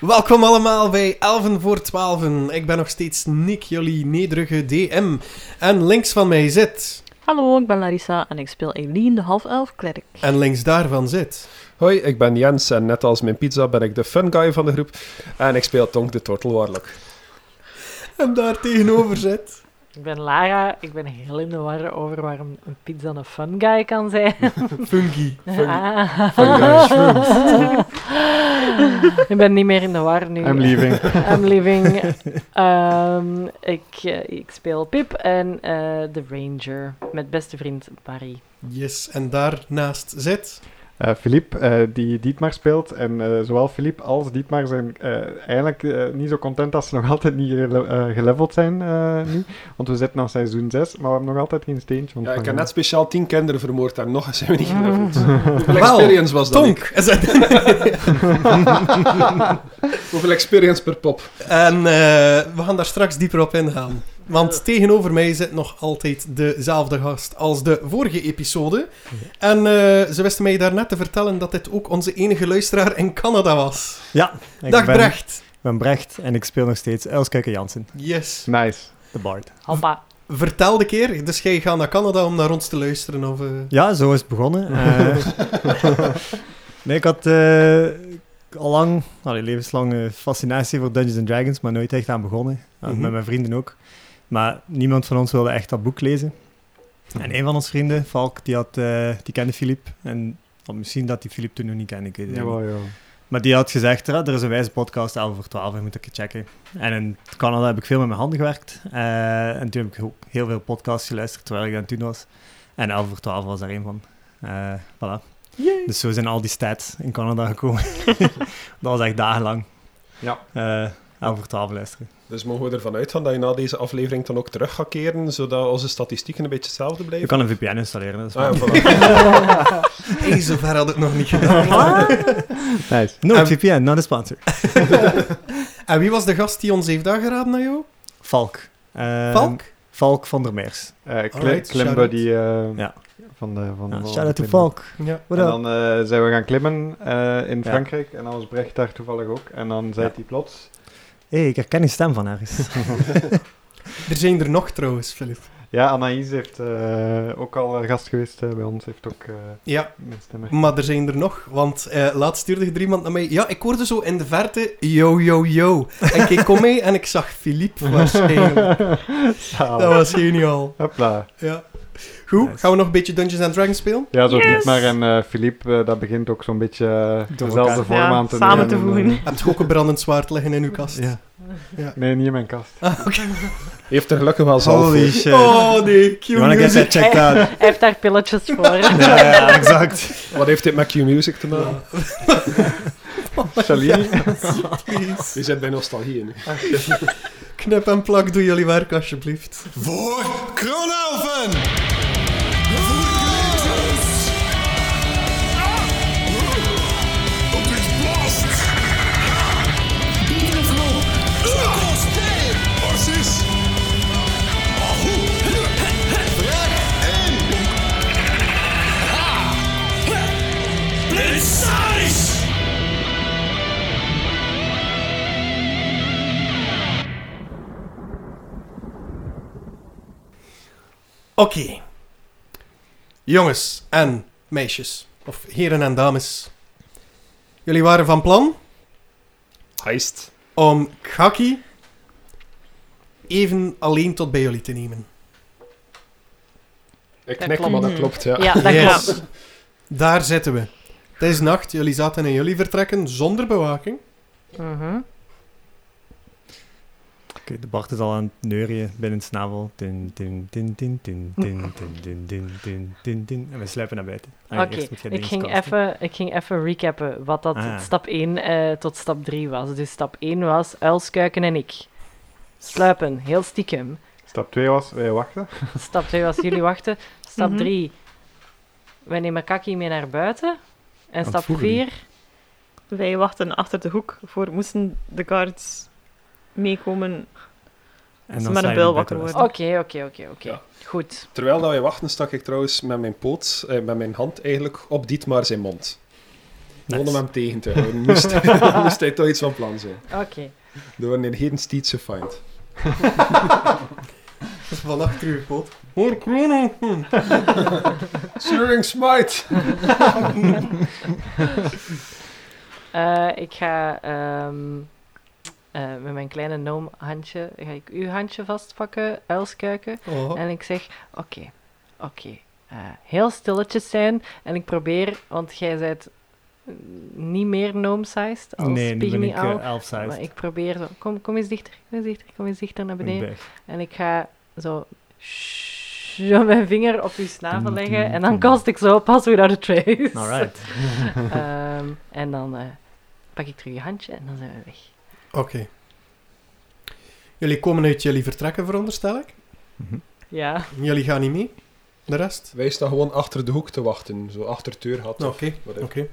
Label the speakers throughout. Speaker 1: Welkom allemaal bij Elven voor 12. Ik ben nog steeds Nick, jullie nederige DM. En links van mij zit.
Speaker 2: Hallo, ik ben Larissa en ik speel Eileen, de half-elf klerk.
Speaker 1: En links daarvan zit.
Speaker 3: Hoi, ik ben Jens en net als mijn pizza ben ik de fun guy van de groep. En ik speel Tonk de Tortelwarlock.
Speaker 1: En daar tegenover zit.
Speaker 4: Ik ben Lara, ik ben heel in de war over waarom een pizza een fun guy kan zijn.
Speaker 1: Funky.
Speaker 4: Ah.
Speaker 3: Fun guy shrooms.
Speaker 4: ik ben niet meer in de war nu.
Speaker 5: I'm leaving.
Speaker 4: I'm leaving. Ehm, ik, eh, ik speel Pip en eh, de Ranger met beste vriend Barry.
Speaker 1: Yes, en daarnaast zit.
Speaker 5: Eh Philippe, eh, die Dietmar speelt. En eh, zowel Philippe als Dietmar zijn eh, eigenlijk eh, niet zo content als ze nog altijd niet gele- eh, geleveld zijn eh, nu. Want we zitten aan seizoen 6, maar we hebben nog altijd geen steentje
Speaker 3: Ja, ik heb
Speaker 5: ontvangen.
Speaker 3: net speciaal 10 kinderen vermoord en nog eens zijn we niet geleveld. Hoeveel
Speaker 1: Wel,
Speaker 3: experience was dat?
Speaker 1: Tonk!
Speaker 3: Nick?
Speaker 1: Is het-
Speaker 3: Hoeveel experience per pop?
Speaker 1: En eh, we gaan daar straks dieper op ingaan. Want tegenover mij zit nog altijd dezelfde gast als de vorige episode. En eh, ze wisten mij daarnet te vertellen dat dit ook onze enige luisteraar in Canada was.
Speaker 6: Ja, ik
Speaker 1: Dag
Speaker 6: ben,
Speaker 1: Brecht.
Speaker 6: ik ben Brecht en ik speel nog steeds Elskeke Jansen,
Speaker 1: Yes.
Speaker 5: Nice.
Speaker 6: de bard.
Speaker 4: Hoppa.
Speaker 1: Vertel de keer. Dus jij gaat naar Canada om naar ons te luisteren? Of, eh,
Speaker 6: Ja, zo is het begonnen. Eh, nee, ik had eh, al lang, allee, levenslang eh, fascinatie voor Dungeons and Dragons, maar nooit echt aan begonnen. Eh,
Speaker 1: Mhm.
Speaker 6: Met mijn vrienden ook. Maar niemand van ons wilde echt dat boek lezen. En een van onze vrienden, Valk, die, had, eh, die kende Philippe. En of misschien dat die Philippe toen nog niet kende, ik eh, weet het niet.
Speaker 5: Jawel, ja.
Speaker 6: Maar die had gezegd, "Ah, er is een wijze podcast, 11 voor 12, je moet ik checken. En in Canada heb ik veel met mijn handen gewerkt. eh, en toen heb ik ook heel veel podcasts geluisterd, terwijl ik aan het doen was. En 11 voor 12 was daar één van. Eh voilà. Dus zo zijn al die stats in Canada gekomen. dat was echt dagenlang.
Speaker 3: Ja.
Speaker 6: Eh 11 voor 12 luisteren.
Speaker 3: Dus mogen we ervan uitgaan dat je na deze aflevering dan ook terug gaat keren, zodat onze statistieken een beetje hetzelfde
Speaker 6: Je
Speaker 3: blijven?
Speaker 6: kan een VPN installeren, dat is
Speaker 3: Ah, ja,
Speaker 6: wel-
Speaker 3: voilà.
Speaker 1: hey, zover had ik nog niet gedaan.
Speaker 5: Nice.
Speaker 6: No,
Speaker 1: En-
Speaker 6: VPN, not a sponsor.
Speaker 1: En wie was de gast die ons heeft aangeraden naar jou?
Speaker 6: Valk. Eh,
Speaker 1: Valk?
Speaker 6: Valk van der Meers.
Speaker 5: Eh Cle-
Speaker 1: Alright,
Speaker 5: Climbody eh,
Speaker 6: Ja.
Speaker 5: van de...
Speaker 6: Ja,
Speaker 5: Van van
Speaker 6: Ah, shout out to
Speaker 5: Climbody.
Speaker 6: Valk.
Speaker 1: Ja.
Speaker 6: What
Speaker 5: en
Speaker 6: up?
Speaker 5: dan eh, zijn we gaan klimmen eh, in
Speaker 6: Ja.
Speaker 5: Frankrijk. En dan was Brecht daar toevallig ook. En dan zei
Speaker 6: Ja.
Speaker 5: hij plots...
Speaker 6: hey, ik herken die stem van ergens.
Speaker 1: Er zijn er nog trouwens, Filip.
Speaker 5: Ja, Anaïs heeft eh, ook al eh, gast geweest eh, bij ons. Heeft ook eh
Speaker 1: Ja,
Speaker 5: mijn stem
Speaker 1: maar er zijn er nog. Want eh, laatst stuurde er iemand naar mij. Ja, ik hoorde zo in de verte. Yo, yo, yo. En ik keek om mee en ik zag Philippe waarschijnlijk.
Speaker 5: Zalig.
Speaker 1: Dat was geniaal.
Speaker 5: Hopla.
Speaker 1: Ja. Goed,
Speaker 6: Nice.
Speaker 1: gaan we nog een beetje Dungeons and Dragons spelen?
Speaker 5: Ja, zo Dietmar en eh Philippe, eh, dat begint ook zo'n beetje eh,
Speaker 6: Door
Speaker 5: dezelfde
Speaker 6: elkaar.
Speaker 5: vorm
Speaker 4: Ja,
Speaker 5: aan te
Speaker 4: samen te
Speaker 5: nemen.
Speaker 4: voegen.
Speaker 1: Heb je ook een brandend zwaard liggen in uw kast?
Speaker 6: ja.
Speaker 5: Nee, niet in mijn kast.
Speaker 3: Heeft er gelukkig wel zelf
Speaker 6: Holy shit.
Speaker 1: Oh nee,
Speaker 6: You wanna
Speaker 1: cute
Speaker 6: get
Speaker 1: music.
Speaker 6: that checked out?
Speaker 4: Hij heeft daar pilletjes voor.
Speaker 6: ja, ja, exact.
Speaker 3: Wat heeft dit met Q-Music te maken?
Speaker 5: Chalini?
Speaker 1: Please.
Speaker 3: Je zit bij nostalgie nu.
Speaker 1: Knip en plak, doe jullie werk alsjeblieft.
Speaker 7: Voor Kronelven! Precise!
Speaker 1: Oké. Jongens en meisjes, of heren en dames. Jullie waren van plan
Speaker 3: Heist.
Speaker 1: om Khaki even alleen tot bij jullie te nemen.
Speaker 3: Ik
Speaker 4: Dat
Speaker 3: knik,
Speaker 4: klopt.
Speaker 3: maar dat klopt, ja.
Speaker 4: Ja, dat
Speaker 1: Yes.
Speaker 4: klopt.
Speaker 1: Daar zitten we. Het is nacht, jullie zaten in jullie vertrekken zonder bewaking.
Speaker 6: Ah,
Speaker 4: Mhm.
Speaker 6: Oké, de Bart is al aan het neurien binnen het snavel. Tin, tin, tin, tin, tin, tin, tin, tin, tin, tin, tin, tin. En we sluipen naar buiten. Ah,
Speaker 4: Oké,
Speaker 6: eerst moet jij
Speaker 4: ik,
Speaker 6: dingen
Speaker 4: ging
Speaker 6: casten.
Speaker 4: even- ik ging even recappen wat dat
Speaker 6: Ah.
Speaker 4: stap 1 eh, tot stap 3 was. Dus stap 1 was uilskuiken en ik. Sluipen, heel stiekem.
Speaker 5: Stap 2 was, wij wachten.
Speaker 4: Stap 2 was jullie wachten. Stap
Speaker 2: Mhm.
Speaker 4: 3, wij nemen Kaki mee naar buiten. En stap
Speaker 6: voeren die.
Speaker 4: 4,
Speaker 2: Wij wachten achter de hoek voor moesten de guards meekomen.
Speaker 6: En dan
Speaker 2: ze maar een
Speaker 6: sluipen
Speaker 2: bel
Speaker 6: we
Speaker 2: wakker
Speaker 6: buiten
Speaker 2: worden.
Speaker 4: oké, oké, oké, oké.
Speaker 3: Ja.
Speaker 4: Goed.
Speaker 3: Terwijl dat wij wachten, stak ik trouwens met mijn poot, eh, met mijn hand eigenlijk, op Dietmar zijn mond.
Speaker 6: Nice.
Speaker 3: Gewoon om hem tegen te houden. Moest, moest hij toch iets van plan zijn.
Speaker 4: Oké.
Speaker 3: Er worden hier geen steeds gefind.
Speaker 1: Van achter uw pot. Hoor Krono.
Speaker 3: Searing Smite!
Speaker 4: Eh, ik ga ehm, eh, met mijn kleine gnoomhandje, ga ik uw handje vastpakken, uilskuiken.
Speaker 1: Oh.
Speaker 4: En ik zeg, oké, oké. eh, heel stilletjes zijn. En ik probeer, want jij bent eh, niet meer gnome-sized als
Speaker 6: nee, nu ben
Speaker 4: pygmy
Speaker 6: ik
Speaker 4: owl.
Speaker 6: eh, elf-sized.
Speaker 4: maar ik probeer zo, kom, kom eens dichter, kom eens dichter, kom eens dichter naar
Speaker 6: Ik
Speaker 4: beneden.
Speaker 6: ben-
Speaker 4: En ik ga zo... zo mijn vinger op uw snavel leggen en dan kast ik zo pas weer naar de trace.
Speaker 6: Alright.
Speaker 4: Ehm, en dan eh, pak ik terug je handje en dan zijn we weg.
Speaker 1: Oké. Jullie komen uit jullie vertrekken, veronderstel ik.
Speaker 4: Ja.
Speaker 1: Jullie gaan niet mee. De rest?
Speaker 3: Wij staan gewoon achter de hoek te wachten, zo achter het deurgat.
Speaker 1: Oké.
Speaker 3: of whatever.
Speaker 1: Oké.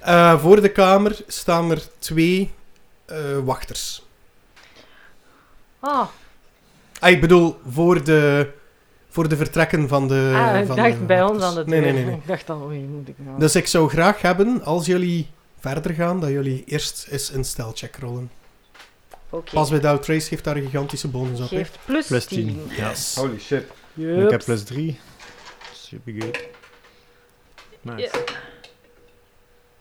Speaker 1: Eh, voor de kamer staan er twee eh, wachters.
Speaker 4: Oh,
Speaker 1: Ah, ik bedoel, voor de, voor de vertrekken van de.
Speaker 4: ah, ik
Speaker 1: Eh, van
Speaker 4: dacht
Speaker 1: de
Speaker 4: bij ons
Speaker 1: wachters.
Speaker 4: aan het
Speaker 1: Nee, nee, nee, nee.
Speaker 4: Ik dacht dan, oei, moet ik nou...
Speaker 1: Dus ik zou graag hebben, als jullie verder gaan, dat jullie eerst eens een stijlcheck rollen.
Speaker 4: Oké,
Speaker 1: Pas bij Dow Trace geeft daar een gigantische bonus op. hè.
Speaker 4: geeft plus,
Speaker 6: Plus
Speaker 4: 10.
Speaker 6: 10. Ja.
Speaker 1: Yes.
Speaker 5: Holy shit.
Speaker 6: Oh, Ik heb
Speaker 4: Jups.
Speaker 6: plus 3. Super good. Nice.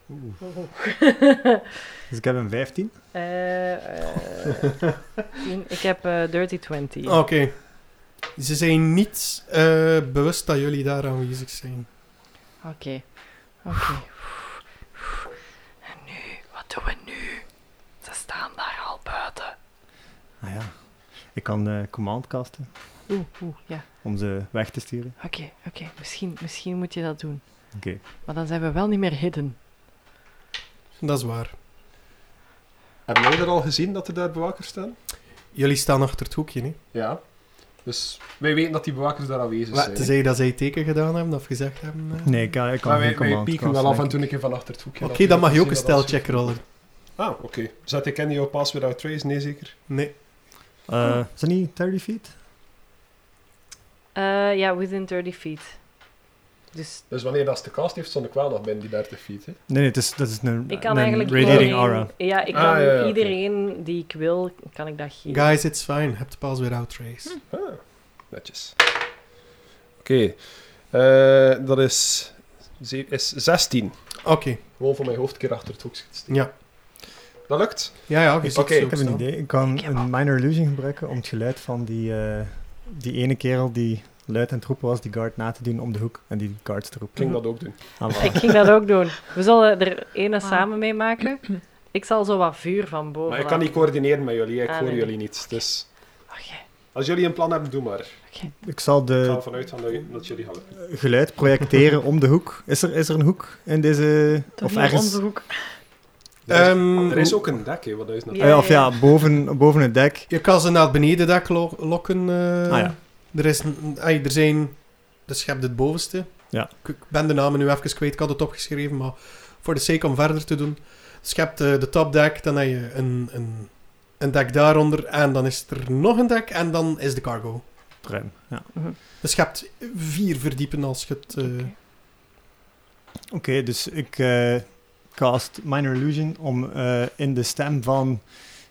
Speaker 6: Oeh. Dus ik heb een 15.
Speaker 4: Eh, eh, 10. Ik heb eh, Dirty 20.
Speaker 1: Ah, Oké. Ze zijn niet eh, bewust dat jullie daar aanwezig zijn.
Speaker 4: Oké. Oké. En nu, wat doen we nu? Ze staan daar al buiten.
Speaker 6: Ah ja. Ik kan eh, command casten
Speaker 4: Oeh, oeh, ja.
Speaker 6: om ze weg te sturen.
Speaker 4: Oké, oké. Misschien, misschien moet je dat doen.
Speaker 6: Oké.
Speaker 4: Maar dan zijn we wel niet meer hidden.
Speaker 1: Dat is waar.
Speaker 3: Hebben wij er al gezien dat er daar bewakers staan?
Speaker 1: Jullie staan achter het hoekje, hè?
Speaker 3: Ja. Dus wij weten dat die bewakers daar aanwezig
Speaker 1: Wat,
Speaker 3: zijn.
Speaker 1: Tenzij dat zij teken gedaan hebben of gezegd hebben. eh.
Speaker 6: Nee, ik kan, ik kan
Speaker 3: maar
Speaker 6: geen
Speaker 3: wij, wij
Speaker 6: command
Speaker 3: pieken
Speaker 6: casten,
Speaker 3: wel af
Speaker 6: denk
Speaker 3: en
Speaker 6: ik.
Speaker 3: toe een keer van achter het hoekje.
Speaker 1: Oké,
Speaker 3: Laten we
Speaker 1: dan mag je ook een
Speaker 3: zien wat als-
Speaker 1: stijlcheck rollen.
Speaker 3: Ah, oké. Zet ik in jouw pass without trace? Nee, zeker.
Speaker 1: Nee. Oh.
Speaker 6: Eh, is dat niet 30 feet?
Speaker 4: Eh, Ja, within 30 feet. Dus
Speaker 3: Dus wanneer dat ze de cast heeft, stond ik wel nog binnen die 30 feet. Hè?
Speaker 6: Nee, nee, het is, dat is een,
Speaker 4: ik kan
Speaker 6: een
Speaker 4: eigenlijk
Speaker 6: radiating
Speaker 4: iedereen-
Speaker 6: aura.
Speaker 4: Ja, ik
Speaker 3: Ah,
Speaker 4: kan
Speaker 3: ja, ja, oké.
Speaker 4: iedereen die ik wil, kan ik dat geven.
Speaker 1: Guys, it's fine. Heb de pas weer out trace.
Speaker 3: Netjes. Ah. Oké. Eh, dat is, ze- is 16.
Speaker 4: Hm.
Speaker 1: Oké.
Speaker 3: Gewoon voor mijn hoofd een keer achter het hoekje te steken.
Speaker 1: Ja.
Speaker 3: Dat lukt.
Speaker 1: Ja, ja, je ziet
Speaker 3: Oké,
Speaker 1: ze
Speaker 6: Ik
Speaker 1: ook
Speaker 6: heb een
Speaker 1: staan.
Speaker 6: idee. Ik kan een minor illusion gebruiken om het geluid van die, eh, die ene kerel die luid aan het roepen was, die guard na te doen om de hoek en die guards te
Speaker 3: Ik ging
Speaker 6: roepen.
Speaker 3: dat ook doen.
Speaker 6: Ah, voilà.
Speaker 4: Ik ging dat ook doen. We zullen er ene
Speaker 2: Wauw.
Speaker 4: samen mee maken. Ik zal zo wat vuur van boven
Speaker 3: Maar ik kan niet
Speaker 4: laten.
Speaker 3: coördineren met jullie. Ik
Speaker 4: Ah,
Speaker 3: hoor
Speaker 4: nee,
Speaker 3: jullie niet. Dus
Speaker 4: Oké,
Speaker 3: als jullie een plan hebben, doe maar. Ik
Speaker 6: Ik zal
Speaker 3: ga
Speaker 6: de
Speaker 3: ervan uit van dat, je- dat jullie gaan lukken.
Speaker 6: geluid projecteren om de hoek. Is er, is er een hoek in deze...
Speaker 2: Toch
Speaker 6: of
Speaker 2: niet
Speaker 6: ergens...
Speaker 2: onze hoek.
Speaker 3: Er is,
Speaker 1: Ehm,
Speaker 3: er is ook een dek, hè, wat is nou?
Speaker 4: Ja.
Speaker 6: Eh, of ja, boven, boven het dek.
Speaker 1: Je kan ze naar het benedendek lo- lokken. eh.
Speaker 6: Ah ja.
Speaker 1: Er, is, een- ai, er zijn... Dus je hebt het bovenste.
Speaker 6: Ja.
Speaker 1: Ik, ik ben de namen nu even kwijt. Ik had het opgeschreven, maar voor de sake om verder te doen. Dus je hebt eh, de topdek, dan heb je een, een, een dek daaronder. En dan is er nog een dek en dan is de cargo.
Speaker 6: Ruim. Ja.
Speaker 1: Dus je hebt vier verdiepen als je het... eh,
Speaker 6: Oké, dus ik eh, cast Minor Illusion om eh, in de stem van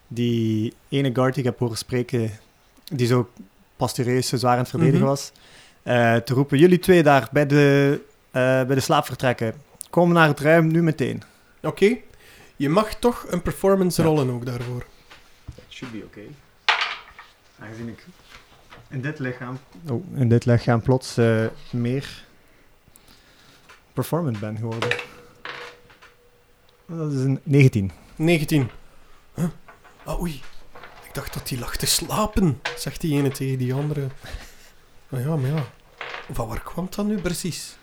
Speaker 6: die ene guard die ik heb horen spreken, die zo pastureus, zo zwaar aan het verdedigen
Speaker 1: Mhm.
Speaker 6: was, eh, te roepen, jullie twee daar bij de, eh, bij de slaapvertrekken, kom naar het ruim nu meteen.
Speaker 1: Oké. Je mag toch een performance rollen ook daarvoor.
Speaker 6: Should be oké. Aangezien ik in dit lichaam... Oh, in dit lichaam plots eh, meer performant ben geworden. Dat is een 19.
Speaker 1: 19. Huh? Ah, oei. Ik dacht dat die lag te slapen, zegt die ene tegen die andere. Maar ja, maar ja. Van waar kwam dat nu precies?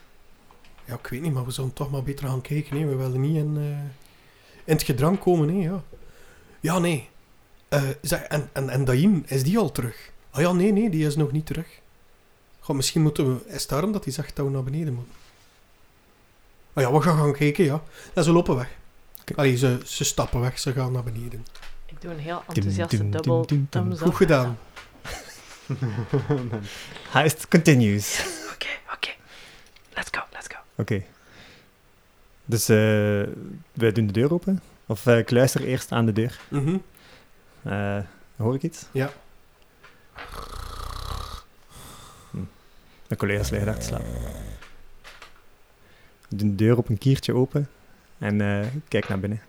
Speaker 1: Ja, ik weet niet, maar we zouden toch maar beter gaan kijken. Hè. We wilden niet in, eh, in het gedrang komen, hè. Ja, ja nee. Eh, zeg, en, en, en Daim, is die al terug? Ah ja, nee, nee, die is nog niet terug. Goh, misschien moeten we... Is het daarom dat hij zegt dat we naar beneden moeten? Ah ja, we gaan gaan kijken, ja. En ze lopen weg. Allee, ze, ze stappen weg, ze gaan naar beneden.
Speaker 4: ik doe een heel enthousiaste
Speaker 6: dum, dum,
Speaker 4: dubbel
Speaker 6: dum, dum.
Speaker 4: thumbs up.
Speaker 1: Goed gedaan.
Speaker 6: Heist Ah, continues.
Speaker 4: Oké, oké. Let's go, let's go.
Speaker 6: Oké. Dus eh, wij doen de deur open. Of eh, ik luister eerst aan de deur.
Speaker 1: Mhm.
Speaker 6: Eh, hoor ik iets?
Speaker 1: Ja.
Speaker 6: Hm. Mijn collega's liggen daar te slapen.
Speaker 5: Eh.
Speaker 6: Ik doe de deur op een kiertje open en eh, ik kijk naar binnen.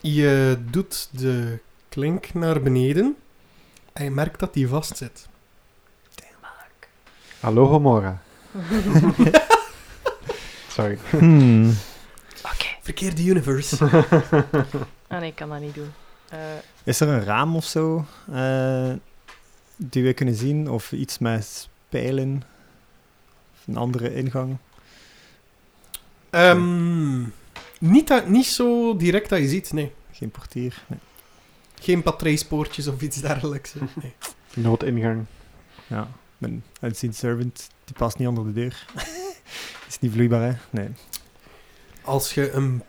Speaker 1: Je doet de klink naar beneden en je merkt dat die vast zit.
Speaker 5: Hallo Gomorra. Sorry.
Speaker 1: Verkeerde universe.
Speaker 4: Ah nee, ik kan dat niet doen. Eh,
Speaker 6: Is er een raam of zo eh, die we kunnen zien? Of iets met spijlen? Of een andere ingang?
Speaker 1: Ehm, niet, dat, niet zo direct dat je ziet, nee.
Speaker 6: Geen portier? Nee.
Speaker 1: Geen patrijspoortjes of iets dergelijks. hè. Nee.
Speaker 5: Noodingang.
Speaker 6: Ja, mijn unseen servant, die past niet onder de deur. Is niet vloeibaar, hè? Nee.
Speaker 1: Als je een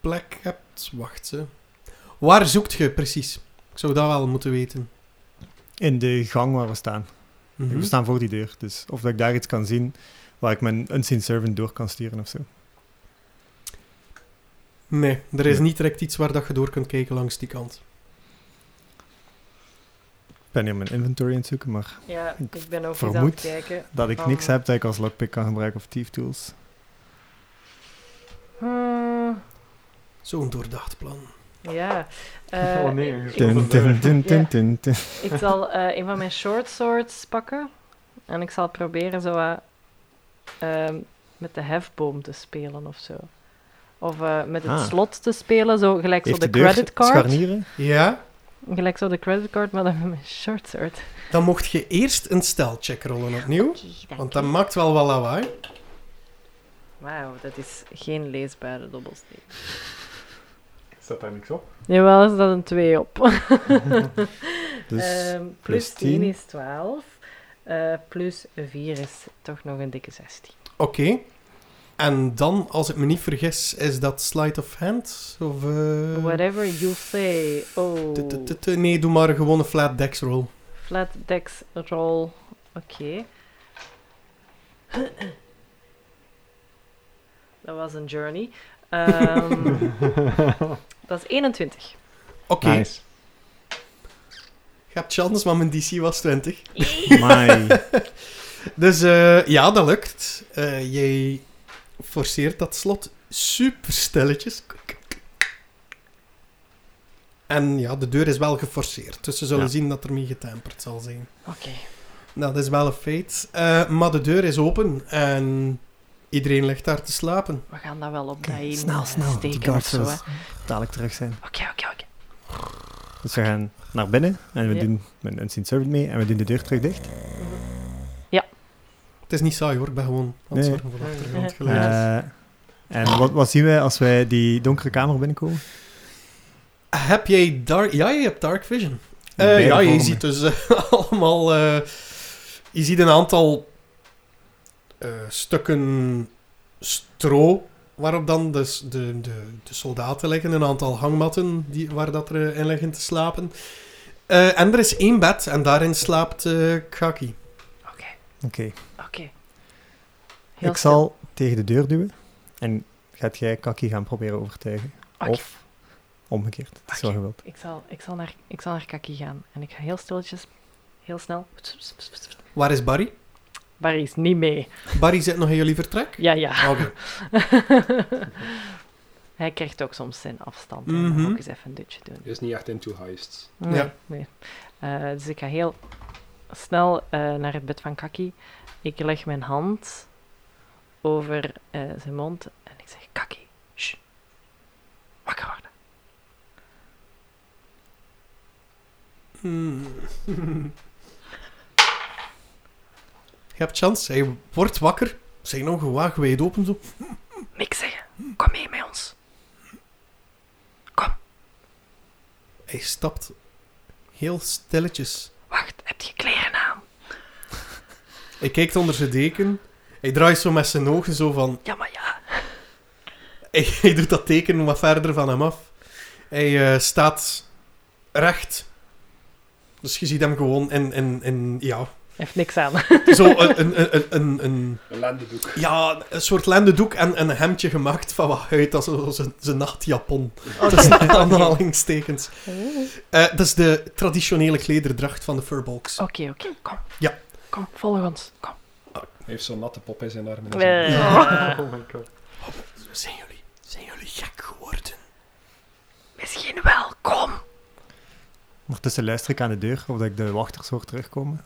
Speaker 1: plek hebt, wacht ze. Waar zoekt je precies? Ik zou dat wel moeten weten.
Speaker 6: In de gang waar we staan.
Speaker 1: Mhm.
Speaker 6: We staan voor die deur, dus of dat ik daar iets kan zien waar ik mijn unseen servant door kan sturen of zo.
Speaker 1: Nee, er is
Speaker 6: Nee.
Speaker 1: niet direct iets waar dat je door kunt kijken langs die kant.
Speaker 6: Ik ben hier mijn inventory aan het zoeken, maar
Speaker 4: ja,
Speaker 6: Ik
Speaker 4: ik ben ook eens aan
Speaker 6: vermoed
Speaker 4: het kijken.
Speaker 6: dat ik niks
Speaker 4: Van-
Speaker 6: heb dat ik als lockpick kan gebruiken of thief tools.
Speaker 4: Hmm,
Speaker 1: Zo'n doordacht plan.
Speaker 4: ja. Eh,
Speaker 5: Oh nee, je
Speaker 4: ik-
Speaker 5: stond
Speaker 6: Dun, dun,
Speaker 5: een
Speaker 6: dun, dun,
Speaker 4: Ja.
Speaker 6: dun, dun.
Speaker 4: Ik zal eh, een van mijn short swords pakken. En ik zal proberen zo wat, ehm, met de hefboom te spelen of zo. Of eh, met het
Speaker 6: Ah.
Speaker 4: slot te spelen, zo gelijk zo
Speaker 6: Heeft
Speaker 4: de,
Speaker 6: deur
Speaker 4: creditcard.
Speaker 6: scharnieren?
Speaker 1: Ja,
Speaker 4: Gelijk zo de creditcard, maar dan met mijn short sword.
Speaker 1: dan mocht je eerst een stijlcheck rollen opnieuw. Want dat maakt wel wat lawaai.
Speaker 4: Wauw, dat is geen leesbare dobbelsteen.
Speaker 5: Staat daar niks op?
Speaker 4: Jawel, is dat een 2 op.
Speaker 6: Dus
Speaker 4: Ehm,
Speaker 6: plus
Speaker 4: plus 10
Speaker 6: 10.
Speaker 4: is 12. eh, plus 4 is toch nog een dikke 16.
Speaker 1: Oké. En dan, als ik me niet vergis, is dat sleight of hand? Of, eh,
Speaker 4: Whatever you say. Oh.
Speaker 1: t- t- t- t- Nee, doe maar gewoon een flat dex roll.
Speaker 4: Flat dex roll. Oké. Dat was een journey. Ehm, dat is 21.
Speaker 1: Oké,
Speaker 5: Nice.
Speaker 1: je hebt chance, maar mijn DC was 20.
Speaker 6: Amai.
Speaker 1: Dus eh, ja, dat lukt. Eh, jij forceert dat slot super stilletjes. En ja, de deur is wel geforceerd. Dus ze zullen
Speaker 6: Ja.
Speaker 1: zien dat er mee getemperd zal zijn.
Speaker 4: Oké.
Speaker 1: Dat is wel een feit. Eh, maar de deur is open en iedereen ligt daar te slapen.
Speaker 4: We gaan dat wel op
Speaker 6: Oké,
Speaker 4: daarin
Speaker 6: snel,
Speaker 4: eh,
Speaker 6: snel. Die
Speaker 4: steken of
Speaker 6: guards
Speaker 4: zo. hè.
Speaker 6: zullen dadelijk terug zijn.
Speaker 4: Oké, oké, oké.
Speaker 6: Dus we gaan naar binnen en we
Speaker 4: Ja.
Speaker 6: doen mijn unseen servant mee en we doen de deur terug dicht.
Speaker 1: Het is niet saai hoor, ik ben gewoon aan het
Speaker 6: Nee.
Speaker 1: zorgen voor de achtergrondgeluid.
Speaker 4: Ja.
Speaker 6: Eh, en wat, wat zien wij als wij die donkere kamer binnenkomen?
Speaker 1: Heb jij dark... Ja, je hebt dark vision. Eh,
Speaker 6: Beide
Speaker 1: ja, je
Speaker 6: vormen.
Speaker 1: ziet dus eh, allemaal... eh, je ziet een aantal eh, stukken stro, waarop dan dus de, de, de soldaten liggen. Een aantal hangmatten die, waar dat er eh, in liggen te slapen. Eh, en er is één bed en daarin slaapt eh, Kaki.
Speaker 6: Oké,
Speaker 4: Oké. Heel
Speaker 6: ik zal tegen de deur duwen en gaat jij Kaki gaan proberen overtuigen.
Speaker 4: Oké.
Speaker 6: Of omgekeerd, het is wel
Speaker 4: Oké.
Speaker 6: gewild.
Speaker 4: Ik zal, ik, zal naar, ik zal naar Kaki gaan. En ik ga heel stilletjes, heel snel. Pst, pst, pst, pst.
Speaker 1: Waar is Barry?
Speaker 4: Barry is niet mee.
Speaker 1: Barry zit nog in jullie vertrek?
Speaker 4: Ja, ja.
Speaker 1: Oké.
Speaker 4: Hij krijgt ook soms zijn afstand. En
Speaker 1: Mhm.
Speaker 4: dan ook eens even een dutje doen.
Speaker 8: Is niet echt into heists.
Speaker 4: Nee,
Speaker 1: Ja.
Speaker 4: nee. Oh, Eh, dus ik ga heel snel eh, naar het bed van Kaki. Ik leg mijn hand over eh, zijn mond en ik zeg: Kaki, shh, wakker worden.
Speaker 1: Hmm. Je hebt chance. Hij wordt wakker. Zijn ogen wagenwijd open zo.
Speaker 4: Niks zeggen, kom mee met ons.
Speaker 1: Hij stapt heel stilletjes.
Speaker 4: Wacht, heb je kleren aan?
Speaker 1: Hij kijkt onder zijn deken. Hij draait zo met zijn ogen zo van...
Speaker 4: Ja, maar ja.
Speaker 1: Hij, hij doet dat teken wat verder van hem af. Hij eh, staat recht. Dus je ziet hem gewoon in, in, in ja,
Speaker 4: Heeft niks aan.
Speaker 1: Zo een, een, een, een, een,
Speaker 3: Een lendendoek.
Speaker 1: ja, een soort lendendoek en een hemdje gemaakt van wat huid, dat is zo zijn- zijn nachtjapon.
Speaker 2: Oké.
Speaker 1: Tussen aanhalingstekens. Eh, dat is de traditionele klederdracht van de furbalks.
Speaker 4: Oké, oké, kom.
Speaker 1: Ja.
Speaker 4: Kom, volg ons. Kom.
Speaker 3: Hij heeft zo'n natte pop in zijn armen. en zo.
Speaker 4: Eh,
Speaker 5: Oh my god.
Speaker 1: Zijn jullie, zijn jullie gek geworden?
Speaker 4: Misschien wel, kom.
Speaker 6: Ondertussen Dus luister ik aan de deur of dat ik de wachters hoor terugkomen.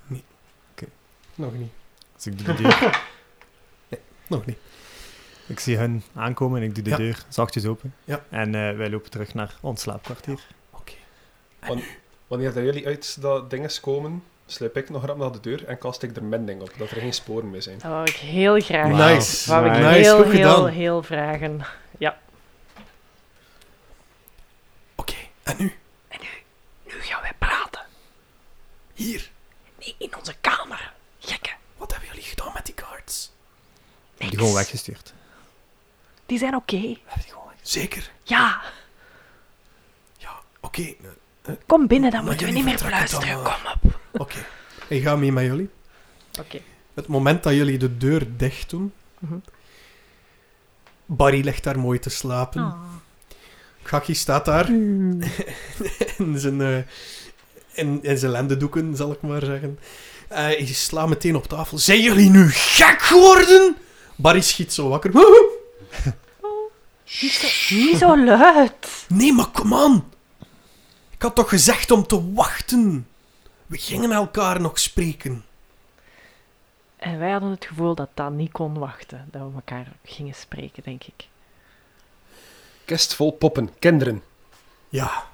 Speaker 1: Nog niet.
Speaker 6: Dus ik doe de deur.
Speaker 1: Nog niet.
Speaker 6: ik zie hun aankomen en ik doe de
Speaker 1: Ja.
Speaker 6: deur zachtjes open.
Speaker 1: Ja.
Speaker 6: En eh, wij lopen terug naar ons slaapkwartier.
Speaker 3: Wanneer dat jullie uit dat dinges komen, sluip ik nog rap naar de deur en kast ik er mending op, dat er geen sporen meer zijn.
Speaker 4: Dat wou ik heel graag.
Speaker 6: Wauw.
Speaker 1: Nice.
Speaker 4: Wou ik
Speaker 5: Nice.
Speaker 1: Nice,
Speaker 4: heel,
Speaker 1: goed
Speaker 4: heel,
Speaker 1: gedaan.
Speaker 4: heel vragen.
Speaker 1: Oké, en nu?
Speaker 4: Nu gaan wij praten.
Speaker 1: Hier.
Speaker 4: Nee, in onze kamer. Gekke.
Speaker 1: Wat hebben jullie gedaan met die cards?
Speaker 6: Die gewoon weggestuurd.
Speaker 4: Die zijn oké.
Speaker 1: Zeker.
Speaker 4: Ja,
Speaker 1: Oké, eh,
Speaker 4: kom binnen, dan
Speaker 1: Maar
Speaker 4: moeten we niet
Speaker 1: jullie
Speaker 4: meer
Speaker 1: vertrekken
Speaker 4: fluisteren.
Speaker 1: dan, eh,
Speaker 4: Kom op.
Speaker 1: oké. Ik ga mee met jullie.
Speaker 4: Oké.
Speaker 1: Het moment dat jullie de deur dicht doen,
Speaker 4: Mhm.
Speaker 1: Barry ligt daar mooi te slapen.
Speaker 4: Ah.
Speaker 1: Gakkie staat daar
Speaker 4: Mm.
Speaker 1: in zijn, eh, in, in zijn lendendoeken, zal ik maar zeggen. Eh hij slaat meteen op tafel. Zijn jullie nu gek geworden? Barry schiet zo wakker.
Speaker 4: Niet, zo, niet zo luid.
Speaker 1: Nee, maar kom aan. Ik had toch gezegd om te wachten. We gingen elkaar nog spreken.
Speaker 4: En wij hadden het gevoel dat dat niet kon wachten. Dat we elkaar gingen spreken, denk ik.
Speaker 3: Kist vol poppen, kinderen.
Speaker 1: Ja.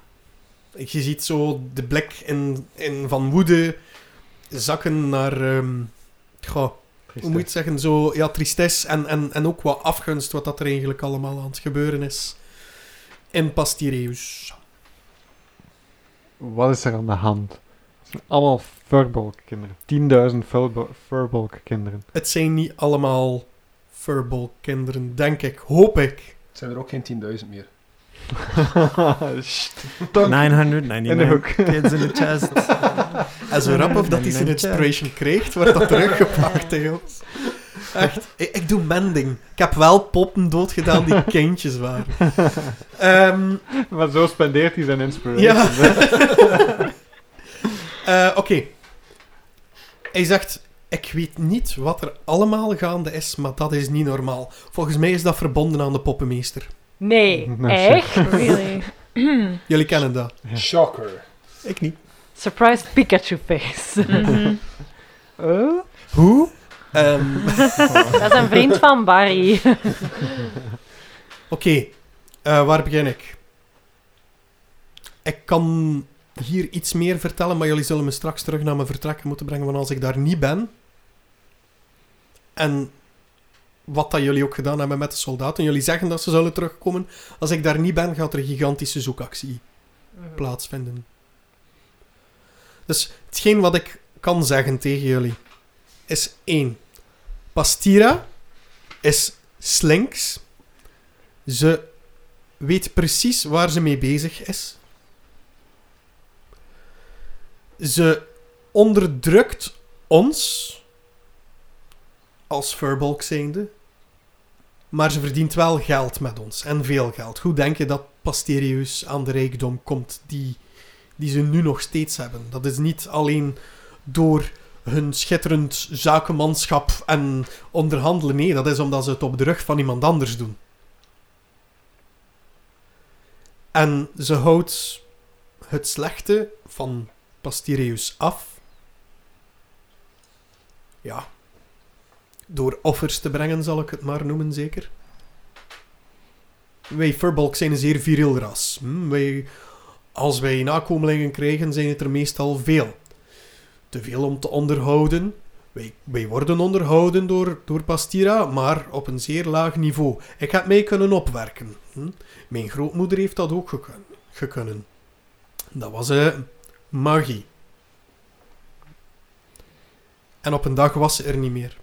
Speaker 1: Je ziet zo de blik in, in van woede zakken naar... ehm, goh, hoe moet je het zeggen? Zo, ja, tristesse en, en, en ook wat afgunst wat dat er eigenlijk allemaal aan het gebeuren is. In Pastireus.
Speaker 5: Wat is er aan de hand? Het zijn allemaal furbolk-kinderen. 10.000 furbo- furbolk-kinderen.
Speaker 1: Het zijn niet allemaal furball kinderen, denk ik. Hoop ik.
Speaker 3: Het zijn er ook geen 10.000 meer.
Speaker 5: Dank.
Speaker 6: 999
Speaker 5: In de hoek.
Speaker 6: kids in the chest.
Speaker 1: En zo rap of dat hij zijn inspiration kreeg, wordt dat teruggepakt, hè, jongens. Echt, ik, ik doe mending. Ik heb wel poppen doodgedaan die kindjes waren. Ehm
Speaker 5: Maar zo spendeert hij zijn inspiration.
Speaker 1: Ja. Eh, Oké. Hij zegt, ik weet niet wat er allemaal gaande is, maar dat is niet normaal. Volgens mij is dat verbonden aan de poppenmeester.
Speaker 4: Nee,
Speaker 5: Nou, zeg.
Speaker 4: echt?
Speaker 2: Really?
Speaker 1: Jullie kennen dat.
Speaker 3: Shocker.
Speaker 6: Ik niet.
Speaker 4: Surprised Pikachu face. Oh?
Speaker 2: Mhm.
Speaker 5: Eh?
Speaker 1: Hoe? Ehm,
Speaker 4: dat is een vriend van Barry.
Speaker 1: Oké, eh, waar begin ik? Ik kan hier iets meer vertellen, maar jullie zullen me straks terug naar mijn vertrek moeten brengen, want als ik daar niet ben... En wat dat jullie ook gedaan hebben met de soldaten, jullie zeggen dat ze zullen terugkomen. Als ik daar niet ben, gaat er een gigantische zoekactie plaatsvinden. Dus hetgeen wat ik kan zeggen tegen jullie is één. Pastira is slinks. Ze weet precies waar ze mee bezig is. Ze onderdrukt ons als furbolk zijnde. Maar ze verdient wel geld met ons. En veel geld. Hoe denk je dat Pasterius aan de rijkdom komt die, die ze nu nog steeds hebben? Dat is niet alleen door hun schitterend zakenmanschap en onderhandelen. Nee, dat is omdat ze het op de rug van iemand anders doen. En ze houdt het slechte van Pastireus af. Ja. Door offers te brengen, zal ik het maar noemen, zeker. Wij Furbalk zijn een zeer viriel ras. Hm, wij, als wij nakomelingen krijgen, zijn het er meestal veel. Te veel om te onderhouden. Wij, wij worden onderhouden door, door Pastira, maar op een zeer laag niveau. Ik heb mij kunnen opwerken. Hm? Mijn grootmoeder heeft dat ook gekun- gekunnen. Dat was eh, magie. En op een dag was ze er niet meer.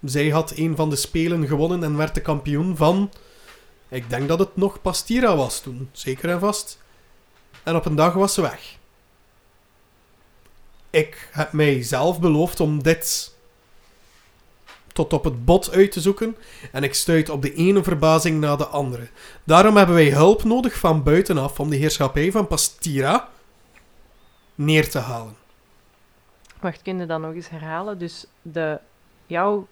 Speaker 1: Zij had een van de spelen gewonnen en werd de kampioen van... Ik denk dat het nog Pastira was toen, zeker en vast. En op een dag was ze weg. ik heb mijzelf beloofd om dit tot op het bot uit te zoeken. En ik stuit op de ene verbazing na de andere. Daarom hebben wij hulp nodig van buitenaf om de heerschappij van Pastira neer te halen.
Speaker 4: Wacht, kun je dat nog eens herhalen? Dus de, jouw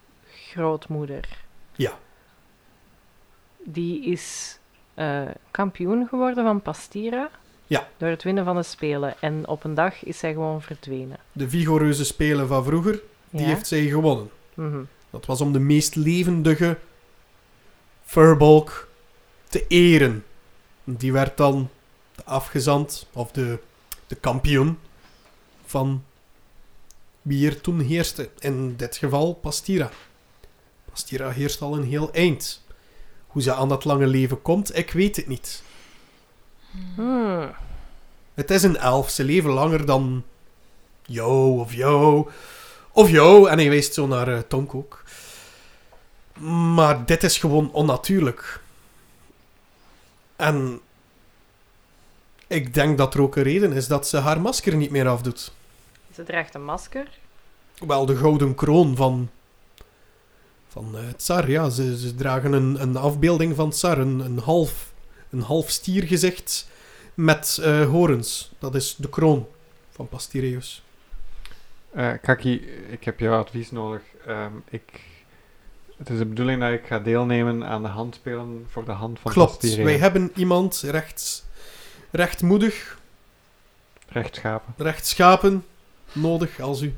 Speaker 4: grootmoeder.
Speaker 1: Ja.
Speaker 4: Die is eh, kampioen geworden van Pastira.
Speaker 1: Ja.
Speaker 4: Door het winnen van de Spelen. En op een dag is zij gewoon verdwenen.
Speaker 1: De vigoureuze spelen van vroeger, die
Speaker 4: ja?
Speaker 1: heeft zij gewonnen.
Speaker 4: Mhm.
Speaker 1: Dat was om de meest levendige Furbolg te eren. Die werd dan de afgezant, of de, de kampioen van wie er toen heerste. In dit geval Pastira. Pastira heerst al een heel eind. Hoe ze aan dat lange leven komt, ik weet het niet.
Speaker 4: Hmm.
Speaker 1: Het is een elf, ze leven langer dan jou of jou. Of jou, en hij wijst zo naar eh, Tonk ook. Maar dit is gewoon onnatuurlijk. En ik denk dat er ook een reden is dat ze haar masker niet meer afdoet.
Speaker 4: Ze draagt een masker.
Speaker 1: Wel, de gouden kroon van, van eh, Tsar, ja. Ze, ze dragen een, een afbeelding van Tsar, een, een, half, een half stiergezicht met eh, horens. Dat is de kroon van Pastireus.
Speaker 5: Eh, Kaki, ik heb jouw advies nodig. Ehm, ik, het is de bedoeling dat ik ga deelnemen aan de handspelen voor de hand van
Speaker 1: Klopt,
Speaker 5: Pastire.
Speaker 1: wij hebben iemand rechts, rechtmoedig,
Speaker 5: Rechtschapen.
Speaker 1: rechtschapen nodig als u.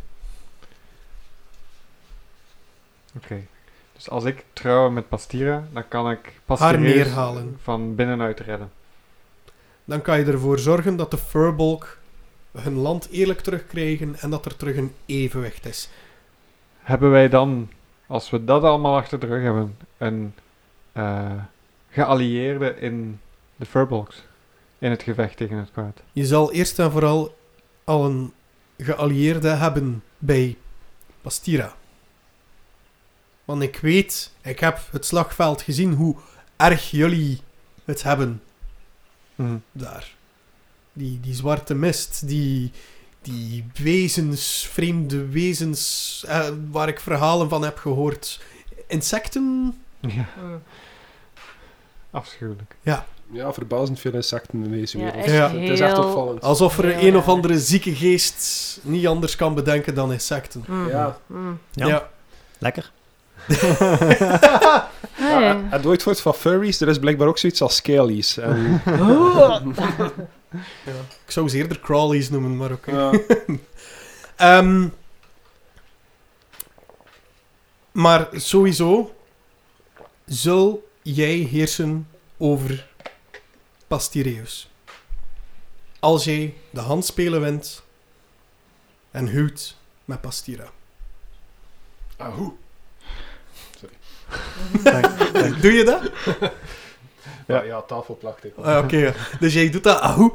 Speaker 5: Dus als ik trouw met Pastira, dan kan ik
Speaker 1: Haar
Speaker 5: Pastire
Speaker 1: neerhalen.
Speaker 5: van binnenuit redden.
Speaker 1: Dan kan je ervoor zorgen dat de Furbolg hun land eerlijk terugkrijgen en dat er terug een evenwicht is.
Speaker 5: Hebben wij dan, als we dat allemaal achter de rug hebben, een eh, geallieerde in de Furbolgs? In het gevecht tegen het kwaad.
Speaker 1: Je zal eerst en vooral al een geallieerde hebben bij Bastira. Want ik weet, ik heb het slagveld gezien hoe erg jullie het hebben
Speaker 5: Mhm.
Speaker 1: daar. Die, die zwarte mist, die, die wezens, vreemde wezens eh, waar ik verhalen van heb gehoord. Insecten?
Speaker 5: Ja,
Speaker 4: Hmm.
Speaker 5: afschuwelijk.
Speaker 3: Ja, verbazend veel insecten in deze
Speaker 4: Ja,
Speaker 3: wereld.
Speaker 4: echt
Speaker 1: Ja.
Speaker 3: Het is echt
Speaker 4: heel-
Speaker 3: opvallend.
Speaker 1: Alsof er
Speaker 4: Heel
Speaker 1: een of
Speaker 4: raar.
Speaker 1: andere zieke geest niet anders kan bedenken dan insecten.
Speaker 4: Hmm.
Speaker 3: Ja.
Speaker 4: Hmm.
Speaker 6: Ja. Lekker.
Speaker 3: Ja,
Speaker 4: Hey.
Speaker 3: het- het ooit wordt van furries, er is blijkbaar ook zoiets als scalies. En,
Speaker 1: Ik zou ze eerder crawlies noemen, maar oké.
Speaker 3: ja.
Speaker 1: Ehm, maar sowieso zul jij heersen over Pastireus. Als jij de handspelen wint en huwt met Pastira.
Speaker 3: Ah, hoe?
Speaker 1: Doe je dat?
Speaker 3: Ja, ja tafelplakte.
Speaker 1: Ah, Oké, ja. dus jij doet dat. Ahoe.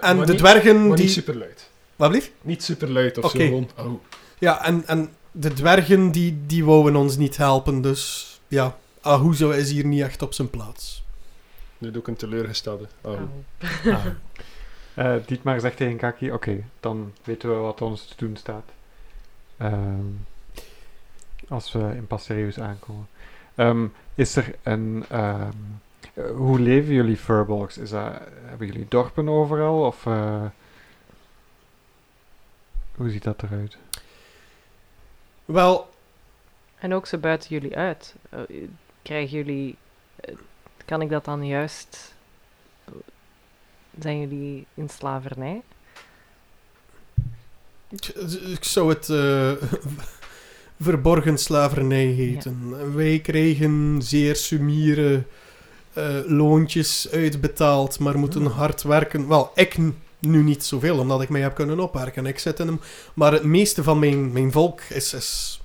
Speaker 1: En de dwergen
Speaker 3: Maar niet
Speaker 1: die...
Speaker 3: super luid.
Speaker 1: Wat blieft?
Speaker 3: Niet super luid of
Speaker 1: Oké.
Speaker 3: zo. Gewoon, ah, hoe?
Speaker 1: Ja, en, en de dwergen die, die wouden ons niet helpen, dus ja, Ahuzo is hier niet echt op zijn plaats.
Speaker 3: Nu doe ik een teleurgestelde.
Speaker 4: Oh.
Speaker 3: Ah, hoe?
Speaker 5: Eh Dietmar zegt tegen Kaki, oké, dan weten we wat ons te doen staat. Ehm, als we in Pastereus aankomen. Ehm, is er een... ehm, eh, hoe leven jullie furbolgs? Is dat, hebben jullie dorpen overal? Of... eh, hoe ziet dat eruit?
Speaker 1: Wel,
Speaker 4: En ook ze buiten jullie uit. Eh, Krijgen jullie. eh, Kan ik dat dan juist. Zijn jullie in slavernij?
Speaker 1: ik- ik zou het eh, verborgen slavernij heten. Wij kregen zeer sumiere eh, loontjes uitbetaald, maar moeten hard werken. Wel, ik n- nu niet zoveel, omdat ik mij heb kunnen opwerken. Ik zit in hem. Maar het meeste van mijn, mijn volk is, is...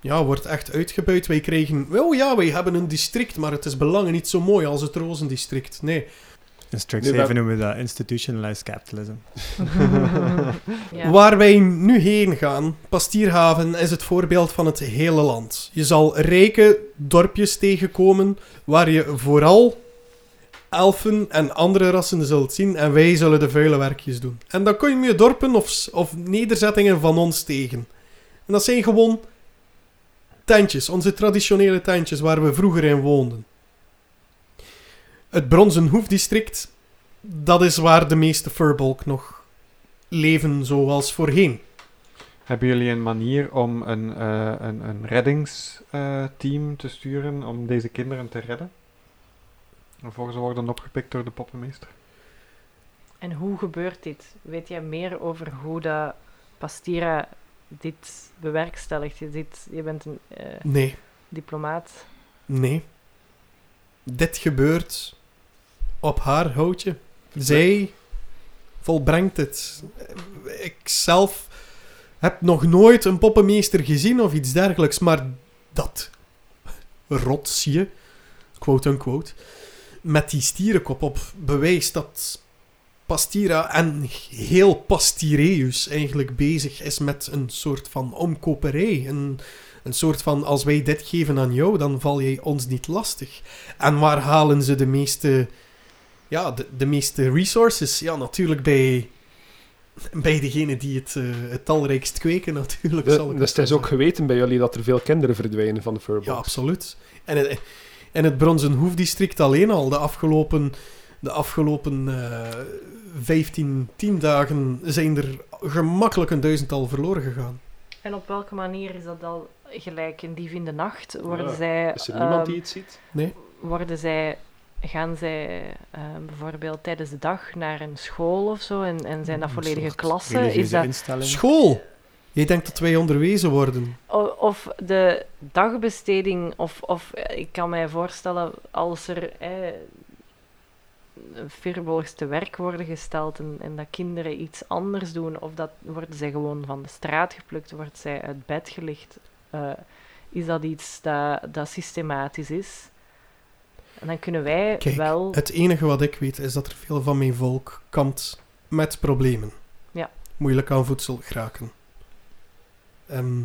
Speaker 1: Ja, wordt echt uitgebuit. Wij kregen... Oh ja, wij hebben een district, maar het is belangen niet zo mooi als het rozendistrict. Nee.
Speaker 6: In
Speaker 3: Nee,
Speaker 6: Strixhaven
Speaker 3: maar-
Speaker 6: noemen we dat institutionalized capitalism.
Speaker 4: Ja.
Speaker 1: Waar wij nu heen gaan, Pastierhaven, is het voorbeeld van het hele land. Je zal rijke dorpjes tegenkomen waar je vooral elfen en andere rassen zult zien en wij zullen de vuile werkjes doen. En dan kom je je dorpen of, s- of nederzettingen van ons tegen. En dat zijn gewoon tentjes, onze traditionele tentjes waar we vroeger in woonden. Het bronzen hoefdistrict, dat is waar de meeste furbolk nog leven zoals voorheen.
Speaker 5: Hebben jullie een manier om een, eh, een, een reddingsteam eh, te sturen om deze kinderen te redden? Voor ze worden opgepikt door de poppenmeester.
Speaker 4: En hoe gebeurt dit? Weet jij meer over hoe dat Pastira dit bewerkstelligt? Je, dit, je bent een eh,
Speaker 1: Nee,
Speaker 4: diplomaat.
Speaker 1: nee. Dit gebeurt op haar houtje. Zij volbrengt het. Ik zelf heb nog nooit een poppenmeester gezien of iets dergelijks, maar dat rotsje, quote-unquote, met die stierenkop op, bewijst dat Pastira en heel Pastireus eigenlijk bezig is met een soort van omkoperij. Een, een soort van, als wij dit geven aan jou, dan val jij ons niet lastig. En waar halen ze de meeste, ja, de, de meeste resources? Ja, natuurlijk bij, bij degene die het, eh, het talrijkst kweken, natuurlijk.
Speaker 3: De-
Speaker 1: zal ik
Speaker 3: dus het
Speaker 1: maar
Speaker 3: is ook
Speaker 1: zeggen.
Speaker 3: geweten bij jullie dat er veel kinderen verdwijnen van de
Speaker 1: Ja,
Speaker 3: Furbolgs.
Speaker 1: absoluut. En het, en het Bronzen Hoefdistrict alleen al, de afgelopen, de afgelopen eh 15, 10 dagen zijn er gemakkelijk een duizendtal verloren gegaan.
Speaker 4: En op welke manier is dat al gelijk? Een dief in de nacht? Worden
Speaker 3: Ja.
Speaker 4: zij,
Speaker 3: Is er niemand
Speaker 4: ehm,
Speaker 3: die iets ziet?
Speaker 4: worden zij, gaan zij ehm, bijvoorbeeld tijdens de dag naar een school of zo? En, en zijn dat
Speaker 6: Een
Speaker 4: volledige
Speaker 6: soort
Speaker 4: klassen? Is
Speaker 6: religieuze
Speaker 4: dat,
Speaker 6: instelling.
Speaker 1: School! Jij denkt dat wij onderwezen worden.
Speaker 4: O- Of de dagbesteding, of, of eh, ik kan mij voorstellen als er eh, firbolgs te werk worden gesteld en, en dat kinderen iets anders doen, of dat worden zij gewoon van de straat geplukt, worden zij uit bed gelicht. eh, is dat iets dat, dat systematisch is? En dan kunnen wij
Speaker 1: Kijk,
Speaker 4: wel.
Speaker 1: Het enige wat ik weet is dat er veel van mijn volk kampt met problemen.
Speaker 4: Ja.
Speaker 1: Moeilijk aan voedsel geraken. Ehm,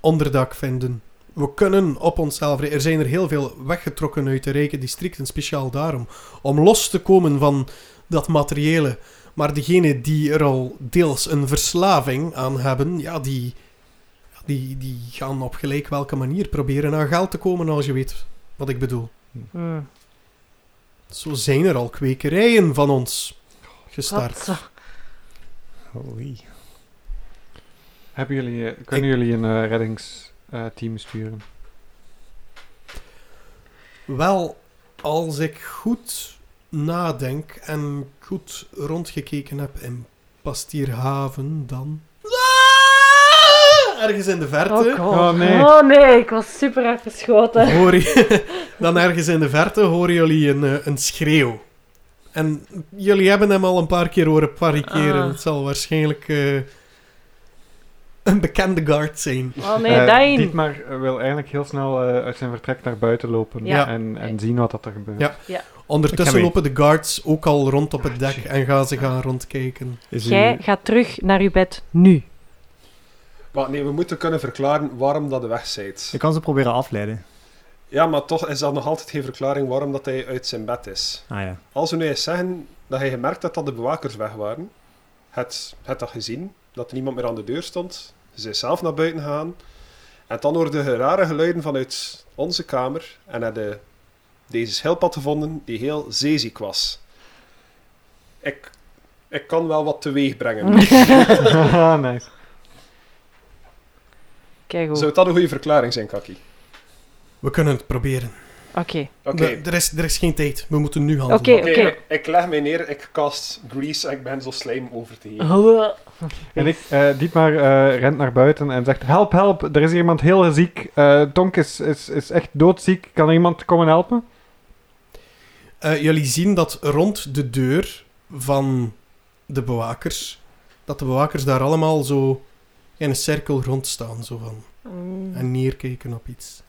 Speaker 1: onderdak vinden. We kunnen op onszelf... re- Er zijn er heel veel weggetrokken uit de rijke districten, speciaal daarom. Om los te komen van dat materiële. Maar degenen die er al deels een verslaving aan hebben, ja, die... Die, die gaan op gelijk welke manier proberen aan geld te komen, als je weet wat ik bedoel.
Speaker 4: Hmm,
Speaker 1: Zo zijn er al kwekerijen van ons
Speaker 4: wat
Speaker 1: gestart.
Speaker 4: zo-
Speaker 6: Oei.
Speaker 5: Hebben jullie, eh, kunnen jullie een eh, reddingsteam eh, sturen?
Speaker 1: Wel, als ik goed nadenk en goed rondgekeken heb in Pastierhaven, dan... Ah! Ergens in de
Speaker 4: Oh,
Speaker 1: verte
Speaker 4: God.
Speaker 5: Oh, nee.
Speaker 4: oh nee, ik was super hard geschoten.
Speaker 1: hoor je... Dan ergens in de verte horen jullie een, eh, een schreeuw. En jullie hebben hem al een paar keer horen parikeren.
Speaker 4: Ah.
Speaker 1: Het zal waarschijnlijk eh, een bekende guard zijn.
Speaker 4: Oh nee,
Speaker 5: Eh,
Speaker 4: Dijn.
Speaker 5: Dietmar eh, wil eigenlijk heel snel eh, uit zijn vertrek naar buiten lopen
Speaker 4: Ja.
Speaker 5: en, en zien wat dat er gebeurt.
Speaker 1: Ja.
Speaker 6: Ik ga
Speaker 1: Ondertussen
Speaker 6: mee.
Speaker 1: lopen de guards ook al rond op het dek en gaan ze gaan rondkijken.
Speaker 6: Is
Speaker 4: Jij gaat terug naar je bed nu.
Speaker 3: Maar nee, we moeten kunnen verklaren waarom dat de weg zijt.
Speaker 6: Ik kan ze proberen afleiden.
Speaker 3: Ja, maar toch is dat nog altijd geen verklaring waarom dat hij uit zijn bed is.
Speaker 6: Ah ja.
Speaker 3: Als we nu eens zeggen dat hij gemerkt had dat de bewakers weg waren, het, het dat gezien, dat er niemand meer aan de deur stond, ze is zelf naar buiten gaan, en dan hoorde je rare geluiden vanuit onze kamer en had de, deze schildpad gevonden die heel zeeziek was. Ik, ik kan wel wat teweeg brengen.
Speaker 5: Haha, nice.
Speaker 4: Kijk goed.
Speaker 3: Zou dat een goede verklaring zijn, Kaki?
Speaker 1: We kunnen het proberen.
Speaker 4: Oké.
Speaker 3: Oké.
Speaker 1: We- er, is, er is geen tijd. We moeten nu handelen.
Speaker 4: Oké,
Speaker 3: Oké,
Speaker 4: oké.
Speaker 3: ik, ik leg mij neer, ik cast Grease en ik ben zo slijm over te geven.
Speaker 5: En ik, eh, Dietmar eh, rent naar buiten en zegt: Help, help, er is iemand heel ziek. Eh Tonk is, is, is echt doodziek. Kan er iemand komen helpen?
Speaker 1: Eh, jullie zien dat rond de deur van de bewakers, dat de bewakers daar allemaal zo in een cirkel rond staan. Zo van,
Speaker 4: Hmm.
Speaker 2: Mm.
Speaker 1: en neerkijken op iets.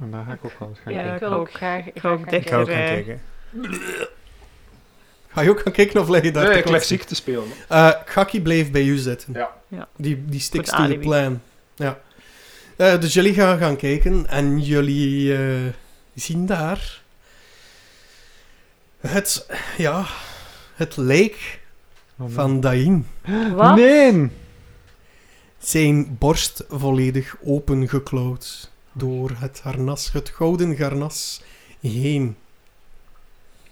Speaker 5: En daar ga ik ook wel eens gaan
Speaker 4: Ja, ik
Speaker 5: kijken.
Speaker 4: wil ook graag.
Speaker 2: Ik ga ook
Speaker 4: graag
Speaker 6: Ik ga ook gaan
Speaker 2: Eh,
Speaker 6: kijken.
Speaker 1: Ga je ook gaan kijken of leg je daar
Speaker 3: Nee,
Speaker 1: te
Speaker 3: ik leg
Speaker 1: kort?
Speaker 3: ziek te spelen.
Speaker 1: Eh Gakkie bleef bij u zitten.
Speaker 3: Ja.
Speaker 2: Ja.
Speaker 1: Die, die sticks
Speaker 2: Goed
Speaker 1: to the
Speaker 2: alibi.
Speaker 1: plan. Ja. Eh, dus jullie gaan gaan kijken en jullie eh, zien daar Het, ja, het lijk
Speaker 5: Oh, nee.
Speaker 1: van Dain.
Speaker 4: Wat?
Speaker 5: Nee!
Speaker 1: Zijn borst volledig opengeklauwd door het harnas, het gouden harnas heen.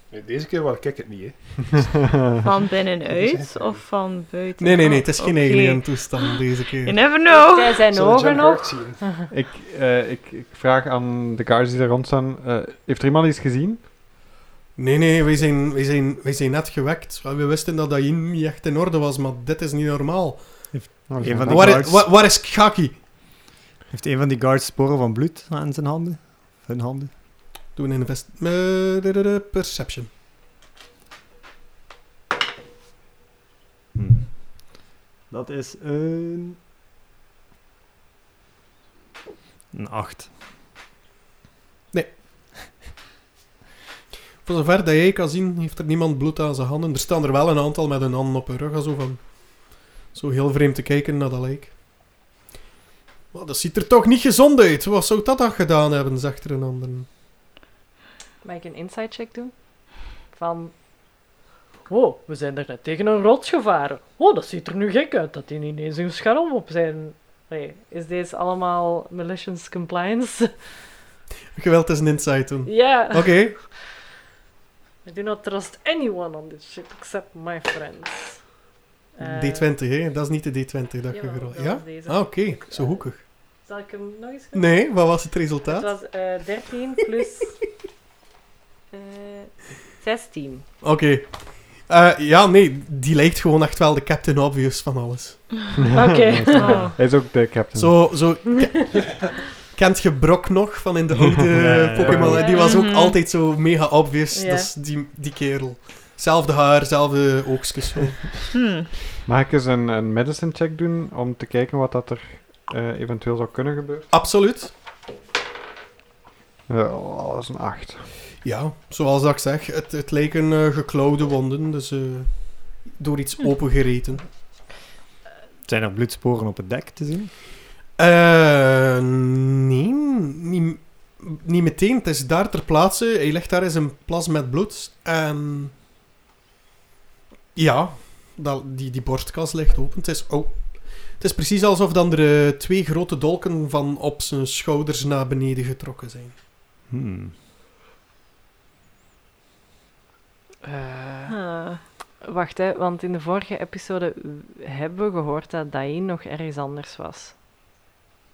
Speaker 3: Nee, deze keer waar ik het niet, hè.
Speaker 2: Van binnenuit of van buiten?
Speaker 1: Nee, nee, nee, het is geen
Speaker 2: Oh, Oké.
Speaker 1: alien toestand deze
Speaker 2: You
Speaker 1: keer.
Speaker 2: never know.
Speaker 4: Zij zijn
Speaker 3: Zullen we
Speaker 4: ogen
Speaker 3: Jack
Speaker 4: nog. Ah.
Speaker 3: Hart zien?
Speaker 5: Ik, eh, ik, ik vraag aan de guards die daar rond staan, eh, heeft er iemand iets gezien?
Speaker 1: Nee, nee, wij zijn, wij zijn, wij zijn net gewekt. We wisten dat Dain niet echt in orde was, maar dit is niet normaal.
Speaker 5: Oh,
Speaker 6: Een van die
Speaker 1: Waar,
Speaker 6: guards.
Speaker 1: is- wa- waar is Kaki?
Speaker 6: Heeft een van die guards sporen van bloed aan zijn handen? Of Hun handen?
Speaker 1: Doe een invest... eh, de- de- de- Perception.
Speaker 6: Dat is een... Een 8.
Speaker 1: Voor zover dat jij kan zien, heeft er niemand bloed aan zijn handen. Er staan er wel een aantal met hun handen op hun rug, en zo van... Zo heel vreemd te kijken naar dat lijk. Maar dat ziet er toch niet gezond uit. Wat zou dat dan gedaan hebben, zegt er een ander.
Speaker 4: Mag ik een inside check doen? Van. Oh, we zijn er net tegen een rots gevaren. Oh, dat ziet er nu gek uit dat die ineens een scherm op zijn. Nee, is deze allemaal malicious compliance?
Speaker 1: Geweld is een insight doen.
Speaker 4: Ja.
Speaker 1: Oké.
Speaker 4: I do not trust anyone on this ship except my friends. Eh,
Speaker 1: D20, hè? Dat is niet de D20 dat je
Speaker 4: jawel,
Speaker 1: gerold
Speaker 4: dat
Speaker 1: Ja?
Speaker 4: was deze.
Speaker 1: Ah, oké. Zo hoekig.
Speaker 4: Zal ik hem nog eens doen?
Speaker 1: Nee, wat was het
Speaker 4: Het
Speaker 1: resultaat?
Speaker 4: was eh 13 plus eh 16.
Speaker 1: Oké. Eh, ja, nee, die lijkt gewoon echt wel de Captain Obvious van alles.
Speaker 4: Oké. Ah.
Speaker 2: Oh.
Speaker 5: Hij is ook de captain.
Speaker 1: Zo, zo ke- kent je Brok nog van in de oude
Speaker 6: Ja,
Speaker 1: Pokémon?
Speaker 4: ja, ja.
Speaker 1: Die was ook
Speaker 2: Mhm.
Speaker 1: altijd zo mega obvious.
Speaker 4: Ja.
Speaker 1: Dat is die, die kerel. Zelfde haar, zelfde oogstjes. zo.
Speaker 2: Hmm.
Speaker 5: Mag ik eens een, een medicine check doen om te kijken wat dat er eh, eventueel zou kunnen gebeuren?
Speaker 1: Absoluut.
Speaker 5: Ja, oh, dat is een 8.
Speaker 1: Ja, zoals dat ik zeg, het, het lijken eh, geklauwde wonden, dus eh, door iets
Speaker 4: Hm.
Speaker 1: opengereten.
Speaker 6: Zijn er bloedsporen op het dek te zien?
Speaker 1: Eh, nee, niet, niet meteen. Het is daar ter plaatse. Hij ligt daar in zijn plas met bloed. En ja, dat, die, die borstkas ligt open. Het is, oh, het is precies alsof dan er eh, twee grote dolken van op zijn schouders naar beneden getrokken zijn.
Speaker 6: Hmm.
Speaker 4: Eh,
Speaker 2: Ah.
Speaker 4: Wacht, hè, want in de vorige episode w- hebben we gehoord dat Dain nog ergens anders was.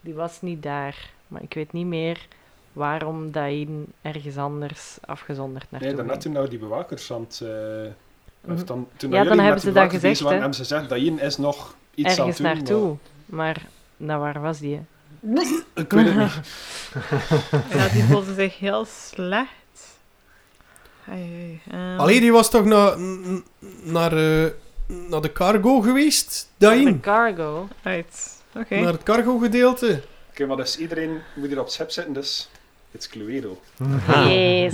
Speaker 4: Die was niet daar, maar ik weet niet meer waarom Dain ergens anders afgezonderd naartoe
Speaker 3: Nee, daarnet
Speaker 4: ging.
Speaker 3: toen nou die bewakers aan het... eh,
Speaker 4: Mhm.
Speaker 3: of dan,
Speaker 4: Ja, dan
Speaker 3: toen nou jullie
Speaker 4: hebben
Speaker 3: met
Speaker 4: ze dat
Speaker 3: de bewakers bezig
Speaker 4: gezegd,
Speaker 3: waren,
Speaker 4: hè.
Speaker 3: hebben ze gezegd, dat hier is nog iets aan
Speaker 4: Mhm. Ergens
Speaker 3: het doen. maar
Speaker 4: naartoe, maar naar waar was die? hè?
Speaker 3: Ik weet het niet.
Speaker 2: Ja, die voelde zich heel slecht. Ai, ai, ehm.
Speaker 1: Allee, die was toch na, n- naar, eh, naar de cargo geweest?
Speaker 4: De
Speaker 1: Daarin?
Speaker 4: cargo.
Speaker 2: Uit. Oké.
Speaker 1: Naar het cargo gedeelte?
Speaker 3: Oké, maar dus iedereen moet hier op het schip zitten, dus... Het is Cluedo.
Speaker 4: Yes.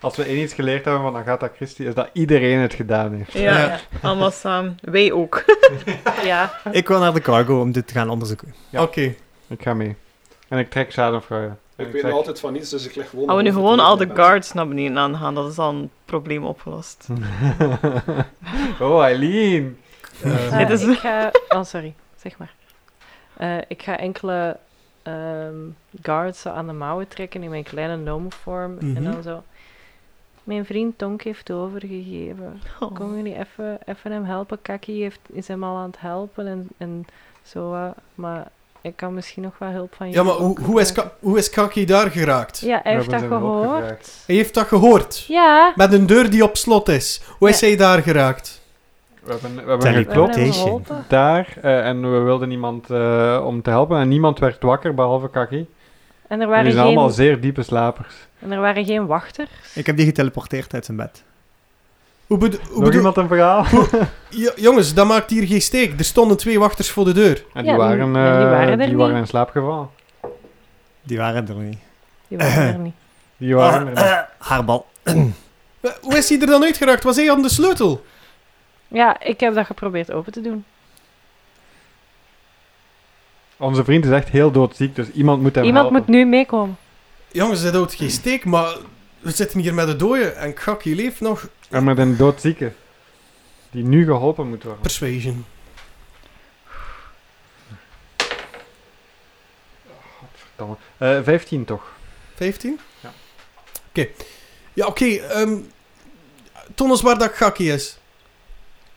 Speaker 5: Als we één iets geleerd hebben van Agatha Christie, is dat iedereen het gedaan heeft.
Speaker 2: Ja,
Speaker 1: Ja.
Speaker 2: allemaal samen. Wij ook.
Speaker 4: ja.
Speaker 6: Ik wil naar de cargo om dit te gaan onderzoeken.
Speaker 5: Ja.
Speaker 1: Oké.
Speaker 5: Ik ga mee. En ik trek schadenfreude. En
Speaker 3: Ik weet
Speaker 5: zeg-
Speaker 3: nog altijd van niets, dus ik leg gewoon...
Speaker 2: Als we nu
Speaker 3: over
Speaker 2: gewoon
Speaker 3: het
Speaker 2: al de
Speaker 3: bed.
Speaker 2: guards naar beneden aangaan, dat is dan een probleem opgelost.
Speaker 5: oh, Eileen!
Speaker 1: Eh,
Speaker 4: Eh,
Speaker 2: Dit is-
Speaker 4: Ik ga... Oh, sorry. Zeg maar. Eh, ik ga enkele ehm, guards zo aan de mouwen trekken in mijn kleine gnomenvorm.
Speaker 1: Mhm.
Speaker 4: En dan zo... Mijn vriend Tonk heeft overgegeven.
Speaker 2: Oh.
Speaker 4: Komen jullie even, even hem helpen? Kaki heeft, is hem al aan het helpen en, en zo. wat. maar ik kan misschien nog wel hulp van
Speaker 1: Ja,
Speaker 4: jullie.
Speaker 1: maar hoe, hoe, is, Ka- hoe is Kaki daar geraakt?
Speaker 4: Ja, hij heeft
Speaker 5: We
Speaker 4: dat
Speaker 5: hebben ze hem
Speaker 4: gehoord.
Speaker 5: opgevraagd.
Speaker 1: Hij heeft dat gehoord.
Speaker 4: Ja.
Speaker 1: Met een deur die op slot is. Hoe is
Speaker 4: Ja.
Speaker 1: hij daar geraakt?
Speaker 5: We hebben, we hebben
Speaker 6: Telly.
Speaker 4: we hebben
Speaker 5: geklopt
Speaker 4: hem
Speaker 6: Teleportation.
Speaker 4: geholpen.
Speaker 5: daar eh, en we wilden niemand eh, om te helpen. En niemand werd wakker, behalve Kaki.
Speaker 4: En er,
Speaker 5: Die
Speaker 4: waren
Speaker 5: zijn allemaal
Speaker 4: geen,
Speaker 5: zeer diepe slapers.
Speaker 4: en er waren geen wachters.
Speaker 6: Ik heb die geteleporteerd uit zijn bed.
Speaker 1: Hoe bedo- hoe
Speaker 5: Nog
Speaker 1: bedoel-
Speaker 5: iemand een verhaal?
Speaker 1: Jo- jongens, dat maakt hier geen steek. Er stonden twee wachters voor de deur.
Speaker 5: En
Speaker 4: Ja,
Speaker 5: die waren,
Speaker 4: en die
Speaker 5: eh,
Speaker 4: waren er
Speaker 5: die waren
Speaker 4: niet.
Speaker 5: in slaap gevallen.
Speaker 6: Die waren er niet.
Speaker 4: Die waren er niet.
Speaker 5: Die waren er
Speaker 6: Ah, eh, haarbal.
Speaker 1: Eh, Hoe is hij er dan uit geraakt? Was hij aan de sleutel?
Speaker 4: Ja, ik heb dat geprobeerd open te doen.
Speaker 5: Onze vriend is echt heel doodziek, dus iemand moet hem
Speaker 4: Iemand
Speaker 5: helpen.
Speaker 4: moet nu meekomen.
Speaker 1: Jongens, dat houdt geen steek, maar we zitten hier met de dode en Kaki leeft nog.
Speaker 5: En met een doodzieke. Die nu geholpen moet worden.
Speaker 1: Persuasion.
Speaker 5: Verdomme. Eh 15 toch?
Speaker 1: 15?
Speaker 5: Ja.
Speaker 1: Oké. Ja, oké. ehm, toon ons waar dat Kaki is.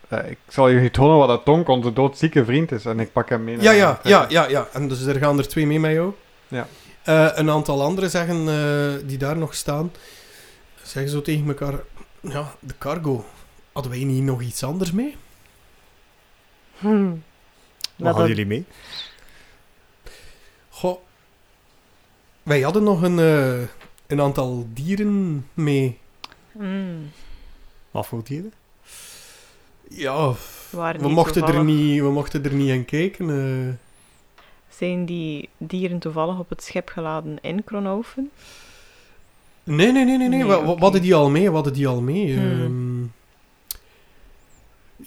Speaker 5: Eh, ik zal jullie tonen wat dat Tonk onze doodzieke vriend is. En ik pak hem mee. naar
Speaker 1: Ja,
Speaker 5: mijn
Speaker 1: ja, ja,
Speaker 5: vertrek.
Speaker 1: ja, ja. En dus er gaan er twee mee met jou.
Speaker 5: Ja.
Speaker 1: Eh, een aantal anderen zeggen, eh, die daar nog staan, zeggen zo tegen elkaar, ja, de cargo, hadden wij niet nog iets anders mee?
Speaker 4: Hm.
Speaker 6: Wat hadden
Speaker 4: dat-
Speaker 6: jullie mee?
Speaker 1: Goh, wij hadden nog een, eh, een aantal dieren mee.
Speaker 2: Mm,
Speaker 6: Wat voor dieren?
Speaker 1: Ja,
Speaker 2: waren
Speaker 1: we
Speaker 2: die
Speaker 1: mochten, er
Speaker 2: toevallig-
Speaker 1: niet, we mochten er niet in kijken. eh.
Speaker 2: Zijn die dieren toevallig op het schip geladen in Kronhoven?
Speaker 1: Nee, nee, nee, nee. nee.
Speaker 2: Nee,
Speaker 1: Wa- wa- Wat
Speaker 2: oké.
Speaker 1: hadden die al mee? Wat hadden die al mee?
Speaker 2: Hmm.
Speaker 1: Ehm,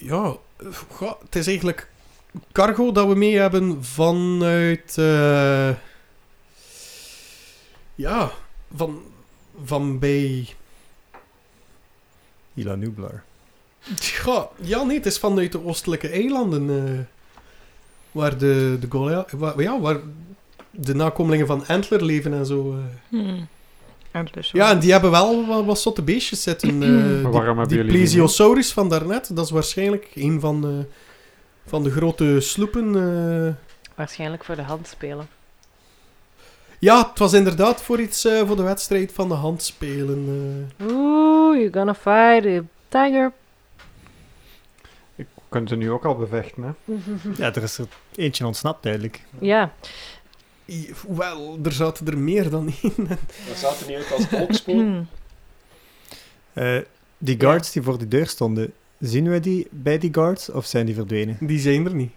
Speaker 1: ja, eh, goh, het is eigenlijk cargo dat we mee hebben vanuit... eh, ja, van, van bij...
Speaker 6: Ila Nublar.
Speaker 1: Tja, ja, nee, het is vanuit de oostelijke eilanden. eh, waar de, de Goliath... Waar, ja, waar de nakomelingen van Antler leven en zo. eh.
Speaker 2: En dus
Speaker 1: Ja, en die hebben wel wat, wat zotte beestjes zitten. eh, die-
Speaker 5: waarom hebben
Speaker 1: die
Speaker 5: jullie die
Speaker 1: plesiosaurus van daarnet, dat is waarschijnlijk een van de, van de grote sloepen. eh.
Speaker 4: Waarschijnlijk voor de hand spelen.
Speaker 1: Ja, het was inderdaad voor iets eh, voor de wedstrijd van de hand spelen. eh.
Speaker 4: Oeh, you're gonna fight a tiger.
Speaker 5: Kunnen ze nu ook al bevechten, hè?
Speaker 6: Ja, er is er eentje ontsnapt duidelijk.
Speaker 4: Ja,
Speaker 1: I- Wel, er zaten er meer dan één.
Speaker 3: Dat zaten niet uit als volkspoor.
Speaker 2: Hmm.
Speaker 6: Eh, die guards die voor de deur stonden, zien we die bij die guards of zijn die verdwenen?
Speaker 1: Die zijn er niet.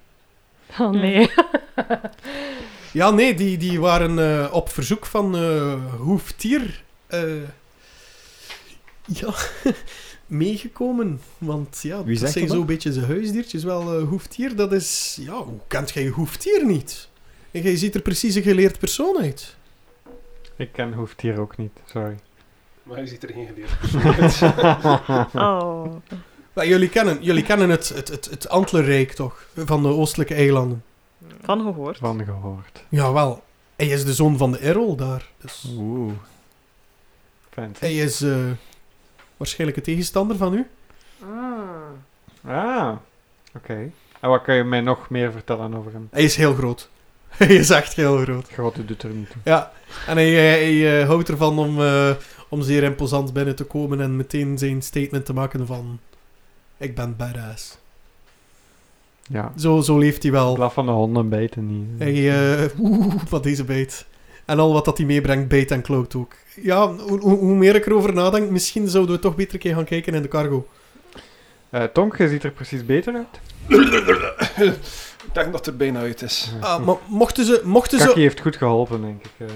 Speaker 4: oh nee.
Speaker 1: Ja, nee, die, die waren eh, op verzoek van eh Hoeftier eh, ja, meegekomen. Want ja,
Speaker 6: Wie
Speaker 1: dat
Speaker 6: zegt
Speaker 1: zijn
Speaker 6: dat?
Speaker 1: zo'n beetje zijn huisdiertjes. Wel, eh, Hoeftier, dat is... Ja, hoe kent jij Hoeftier niet? En jij ziet er precies een geleerd persoon uit.
Speaker 5: Ik ken hoeft hier ook niet, sorry.
Speaker 3: Maar hij ziet er geen geleerd persoon uit.
Speaker 2: Oh.
Speaker 1: Maar jullie kennen, jullie kennen het, het, het, het Antlerrijk toch? Van de oostelijke eilanden.
Speaker 2: Van gehoord.
Speaker 5: Van gehoord.
Speaker 1: Jawel. Hij is de zoon van de Errol daar. Dus
Speaker 6: Oeh.
Speaker 5: Fancy.
Speaker 1: hij is eh, waarschijnlijk een tegenstander van u.
Speaker 4: Oh,
Speaker 1: eh.
Speaker 5: Ah, oké. En wat kan je mij nog meer vertellen over hem?
Speaker 1: Hij is heel groot. Hij is echt heel groot.
Speaker 5: Grote doet er niet toe.
Speaker 1: Ja, en hij, eh, hij, eh, houdt ervan om, eh, om zeer imposant binnen te komen en meteen zijn statement te maken van... Ik ben badass.
Speaker 5: Ja.
Speaker 1: Zo, zo leeft hij wel.
Speaker 5: Blaf van de honden bijten niet.
Speaker 1: Hij, eh, oeh, wat deze bijt. En al wat dat hij meebrengt, bijt en kloot ook. Ja, hoe, hoe, hoe meer ik erover nadenk, misschien zouden we toch beter een keer gaan kijken in de cargo.
Speaker 5: Eh, Tonk, je ziet er precies beter uit.
Speaker 3: Ik denk dat er bijna uit is.
Speaker 1: Ah, maar mochten ze, mochten
Speaker 5: Eh, Kaki
Speaker 1: ze,
Speaker 5: heeft goed geholpen, denk ik. eh.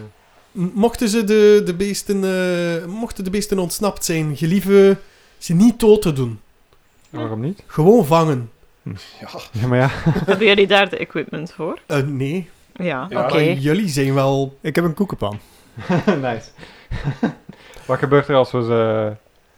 Speaker 1: m- mochten ze de, de beesten, eh, mochten de beesten ontsnapt zijn, gelieve ze niet dood te doen.
Speaker 5: waarom niet?
Speaker 1: Gewoon vangen.
Speaker 5: Ja, maar ja.
Speaker 2: Hebben jullie daar de equipment voor?
Speaker 1: Eh, nee,
Speaker 2: Ja.
Speaker 3: Ja.
Speaker 4: Oké.
Speaker 1: Maar jullie zijn wel
Speaker 6: Ik heb een koekenpan.
Speaker 5: nice. wat gebeurt er als we ze eh,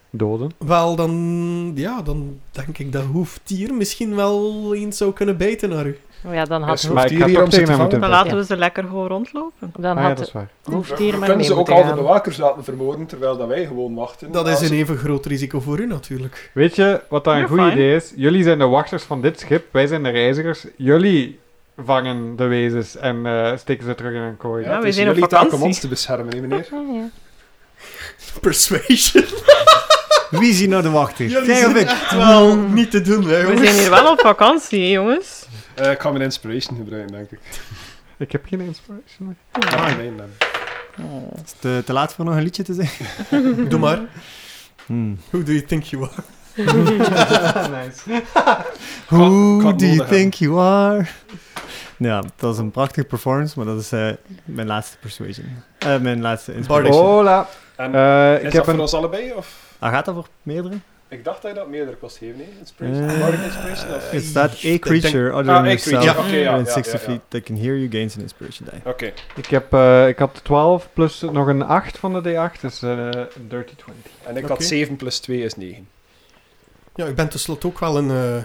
Speaker 5: doden?
Speaker 1: Wel, dan, ja, dan denk ik dat hoeftier misschien wel eens zou kunnen bijten naar u.
Speaker 4: Maar ja, dan had,
Speaker 3: Is-
Speaker 4: hoef-
Speaker 5: maar
Speaker 3: hoeft
Speaker 5: ik
Speaker 3: hier
Speaker 5: ga
Speaker 3: hier
Speaker 5: toch
Speaker 3: om ze
Speaker 5: tegen
Speaker 3: te
Speaker 5: hem moeten
Speaker 2: Dan
Speaker 5: vechten.
Speaker 2: laten we ze lekker gewoon rondlopen.
Speaker 4: Nou, dan
Speaker 5: Ah ja,
Speaker 4: had
Speaker 5: dat is waar.
Speaker 4: hoeft
Speaker 3: We
Speaker 4: hier maar
Speaker 3: kunnen
Speaker 4: mee
Speaker 3: ze ook
Speaker 4: moeten
Speaker 3: al de
Speaker 4: gaan.
Speaker 3: bewakers laten vermoorden, terwijl dat wij gewoon wachten.
Speaker 1: Dat is
Speaker 3: Als-
Speaker 1: een even groot risico voor u natuurlijk.
Speaker 5: Weet je wat daar een
Speaker 2: You're
Speaker 5: goed
Speaker 2: fine.
Speaker 5: idee is? Jullie zijn de wachters van dit schip, wij zijn de reizigers. Jullie vangen de wezens en eh, steken ze terug in een kooi.
Speaker 2: Ja,
Speaker 3: het
Speaker 2: we
Speaker 3: is
Speaker 2: zijn op
Speaker 3: jullie taak om
Speaker 2: vakantie.
Speaker 3: ons te beschermen, hè, meneer.
Speaker 4: Ah, ja.
Speaker 1: Persuasion.
Speaker 6: Wie is hier nou de wachter?
Speaker 1: Jullie
Speaker 6: Jij of
Speaker 1: zijn
Speaker 6: ik?
Speaker 1: echt wel niet te doen, hè,
Speaker 2: We
Speaker 1: jongens.
Speaker 2: zijn hier wel op vakantie, hè, jongens.
Speaker 3: Eh, ik ga mijn inspiration gebruiken, denk ik.
Speaker 5: Ik heb geen inspiration meer.
Speaker 3: Ah, nee, nee.
Speaker 6: Is het te, te laat voor nog een liedje te zeggen?
Speaker 1: Doe maar.
Speaker 3: Hm.
Speaker 6: Hmm.
Speaker 1: Who do you think you are?
Speaker 5: nice.
Speaker 6: Who
Speaker 3: kan
Speaker 6: do you
Speaker 3: nodig
Speaker 6: think you are? Ja, dat was een prachtige performance, maar dat is eh, mijn laatste persuasion. Eh, mijn laatste inspiration.
Speaker 1: Bardic.
Speaker 5: Hola.
Speaker 3: En
Speaker 5: Eh,
Speaker 3: is
Speaker 5: ik
Speaker 3: dat
Speaker 5: heb
Speaker 3: voor
Speaker 5: een...
Speaker 3: ons allebei? Of?
Speaker 6: Ah, gaat dat voor meerdere?
Speaker 3: Ik dacht dat je dat meerdere kost geven, hè? Inspiration.
Speaker 6: Eh,
Speaker 3: Bardic Inspiration? of-
Speaker 6: It's that a
Speaker 1: denk-
Speaker 6: creature other
Speaker 3: Ah,
Speaker 6: than
Speaker 3: a
Speaker 6: yourself
Speaker 3: creature, oké, ja,
Speaker 6: within
Speaker 3: ja,
Speaker 6: 60
Speaker 3: ja, ja.
Speaker 6: feet that can hear you gains an inspiration die.
Speaker 3: Oké.
Speaker 5: Ik, heb, eh, ik had 12 plus nog een 8 van de D8, dus eh, een dirty 20.
Speaker 3: En ik
Speaker 1: Oké.
Speaker 3: had 7 plus 2 is 9.
Speaker 1: Ja, ik ben tenslotte ook wel een, eh,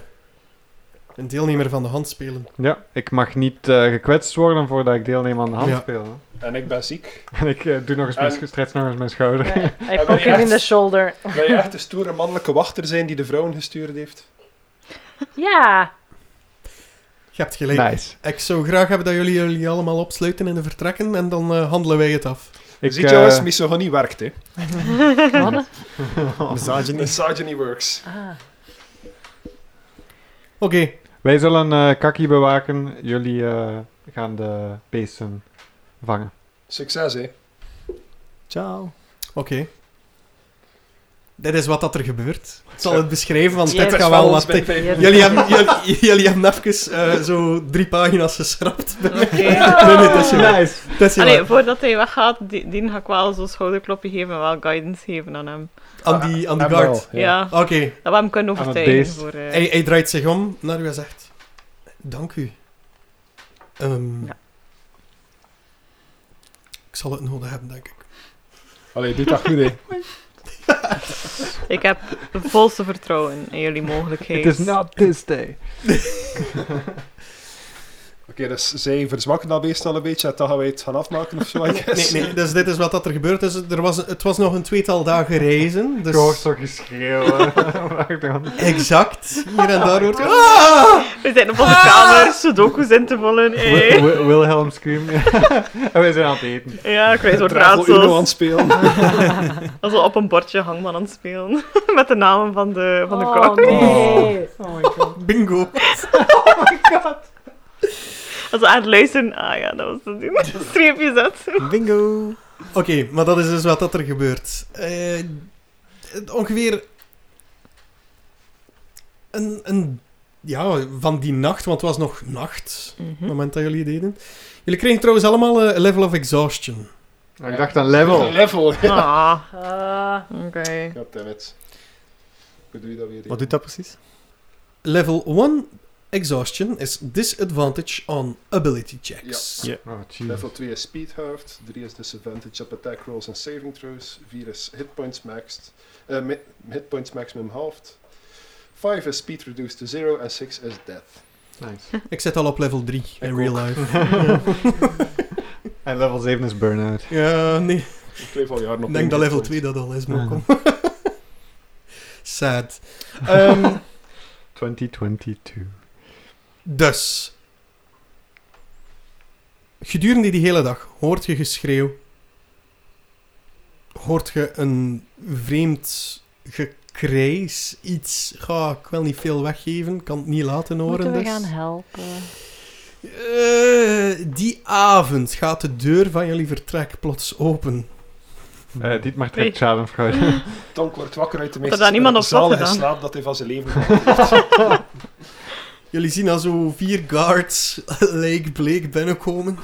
Speaker 1: een deelnemer van de handspelen.
Speaker 5: Ja, ik mag niet eh, gekwetst worden voordat ik deelneem aan de
Speaker 1: Ja.
Speaker 5: handspelen.
Speaker 3: En ik ben ziek.
Speaker 5: En ik eh, doe nog eens mijn,
Speaker 3: En-
Speaker 5: sch- stretch nog eens mijn schouder.
Speaker 4: I poke him in the shoulder.
Speaker 3: Wil je echt de stoere mannelijke wachter zijn die de vrouwen gestuurd heeft?
Speaker 4: Ja.
Speaker 1: Je hebt gelijk.
Speaker 5: Nice.
Speaker 1: Ik zou graag hebben dat jullie jullie allemaal opsluiten en vertrekken en dan eh, handelen wij het af.
Speaker 5: Ik,
Speaker 3: Dus Ziet
Speaker 5: eh,
Speaker 3: jongens, misogynie werkt, hè?
Speaker 4: Wat?
Speaker 6: Misogyny.
Speaker 3: Misogyny works.
Speaker 4: Ah.
Speaker 1: Oké,
Speaker 5: wij zullen eh, Kaki bewaken. Jullie eh, gaan de beesten vangen.
Speaker 3: Succes, hè?
Speaker 6: Ciao.
Speaker 1: oké. Dit is wat dat er gebeurt. Ik zal het beschrijven, want
Speaker 4: Yes.
Speaker 1: dit gaat wel wat...
Speaker 3: Ons bij
Speaker 1: te-
Speaker 3: vijf.
Speaker 1: Jullie hebben, jullie, jullie hebben even eh, zo drie pagina's geschrapt. Nee, nee, dat is niet waar.
Speaker 5: Nice.
Speaker 1: Dat is niet
Speaker 2: Allee,
Speaker 1: waar.
Speaker 2: voordat hij weggaat, die, die ga ik wel zo'n schouderklopje geven en wel guidance geven aan hem.
Speaker 1: Aan die, aan die
Speaker 3: En
Speaker 1: guard.
Speaker 3: Ah, wel,
Speaker 2: Ja,
Speaker 3: ja.
Speaker 1: Oké,
Speaker 2: dat we hem kunnen
Speaker 5: het
Speaker 2: overtuigen.
Speaker 5: beest.
Speaker 2: Voor, eh,
Speaker 1: hij, hij draait zich om naar u en zegt... Dank u. Ehm,
Speaker 2: Ja.
Speaker 1: Ik zal het nodig hebben, denk ik.
Speaker 3: Allee, doe dat goed, hè?
Speaker 2: Ik heb volste vertrouwen in jullie mogelijkheden.
Speaker 5: It is not this day.
Speaker 3: Oké, dus zij verzwakken dat beest al een beetje en dan gaan wij het gaan afmaken of zo, I
Speaker 1: Nee,
Speaker 3: guess.
Speaker 1: nee, dus dit is wat dat er gebeurd is. Er was, het was nog een tweetal dagen reizen.
Speaker 5: Ik hoor
Speaker 1: Dus
Speaker 5: zo geschreeuwen. Wacht dan.
Speaker 1: exact. Hier en daar hoort... Ah!
Speaker 2: We zijn op onze kamer, sudokus in te vullen.
Speaker 5: Wi-
Speaker 2: eh.
Speaker 5: Wi- Wilhelm Scream. en wij zijn aan het eten.
Speaker 2: Ja, ik weet zo'n
Speaker 3: Dravel Uno aan
Speaker 2: raadsels.
Speaker 3: het spelen.
Speaker 2: Als we op een bordje hangman aan het spelen. Met de namen van de, van de
Speaker 4: Oh,
Speaker 2: kamer.
Speaker 4: nee. Oh my god.
Speaker 1: Bingo.
Speaker 2: Als we aan het luisteren... Ah ja, dat was het ding. Streepje zet.
Speaker 6: Bingo.
Speaker 1: Oké, maar dat is dus wat dat er gebeurt. Eh, het- ongeveer een, een, ja, van die nacht, want het was nog nacht, op het moment dat jullie het deden. Jullie kregen trouwens allemaal eh, een level of exhaustion.
Speaker 5: Ik dacht aan level.
Speaker 3: Level.
Speaker 2: Ah,
Speaker 4: Ah.
Speaker 2: oké.
Speaker 3: Goddammit. Hoe doe je dat weer?
Speaker 6: Wat doet dat precies?
Speaker 1: Level 1 exhaustion is disadvantage on ability checks.
Speaker 6: Ja. Ja.
Speaker 5: Oh, jeez.
Speaker 1: Hmm.
Speaker 3: Level 2 is speed halved, 3 is disadvantage op attack rolls en saving throws, 4 is hit points maxed, eh, mi- hit points maximum halved, 5 is speed reduced to 0 en 6 is death.
Speaker 5: Nice.
Speaker 1: Ik zit al op level 3 in
Speaker 3: Ik
Speaker 1: real
Speaker 3: ook.
Speaker 1: life.
Speaker 5: En level 7 is burnout.
Speaker 1: Ja, nee.
Speaker 3: Ik leef al jaren nog
Speaker 1: Ik denk
Speaker 3: in
Speaker 1: dat level
Speaker 3: hit
Speaker 1: 2 dat al is, maar
Speaker 5: Ja.
Speaker 1: kom. Sad. Ehm,
Speaker 5: 2022.
Speaker 1: Dus. Gedurende die hele dag hoort je geschreeuw. Hoort je een vreemd gekrijs. Iets. Ga ik wel niet veel weggeven. Kan het niet laten horen.
Speaker 4: Moeten we
Speaker 1: dus.
Speaker 4: gaan helpen?
Speaker 1: Eh, die avond gaat de deur van jullie vertrek plots open.
Speaker 5: Eh dit maar
Speaker 2: Nee.
Speaker 5: trekt schadenfreude.
Speaker 3: points. Tonk wordt wakker uit de meest
Speaker 2: er daar niemand op zat
Speaker 3: zalige
Speaker 2: gedaan.
Speaker 3: slaap dat hij van zijn leven
Speaker 1: Jullie zien al zo vier guards Lake Blake binnenkomen.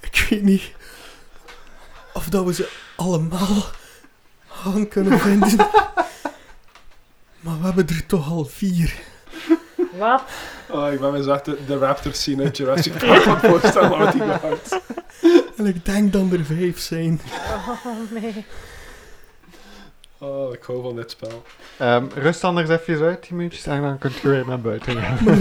Speaker 1: Ik weet niet of dat we ze allemaal gaan kunnen vinden. Maar we hebben er toch al vier.
Speaker 4: Wat?
Speaker 3: Oh, ik ben me echt de, de raptor scene uit Jurassic Park aan het voorstellen wat die maakt.
Speaker 1: En ik denk dat er vijf zijn.
Speaker 4: Oh nee.
Speaker 3: Oh, ik hou van dit spel.
Speaker 5: Ehm, rust anders even uit, die minuutjes, en dan kunt je weer naar buiten gaan.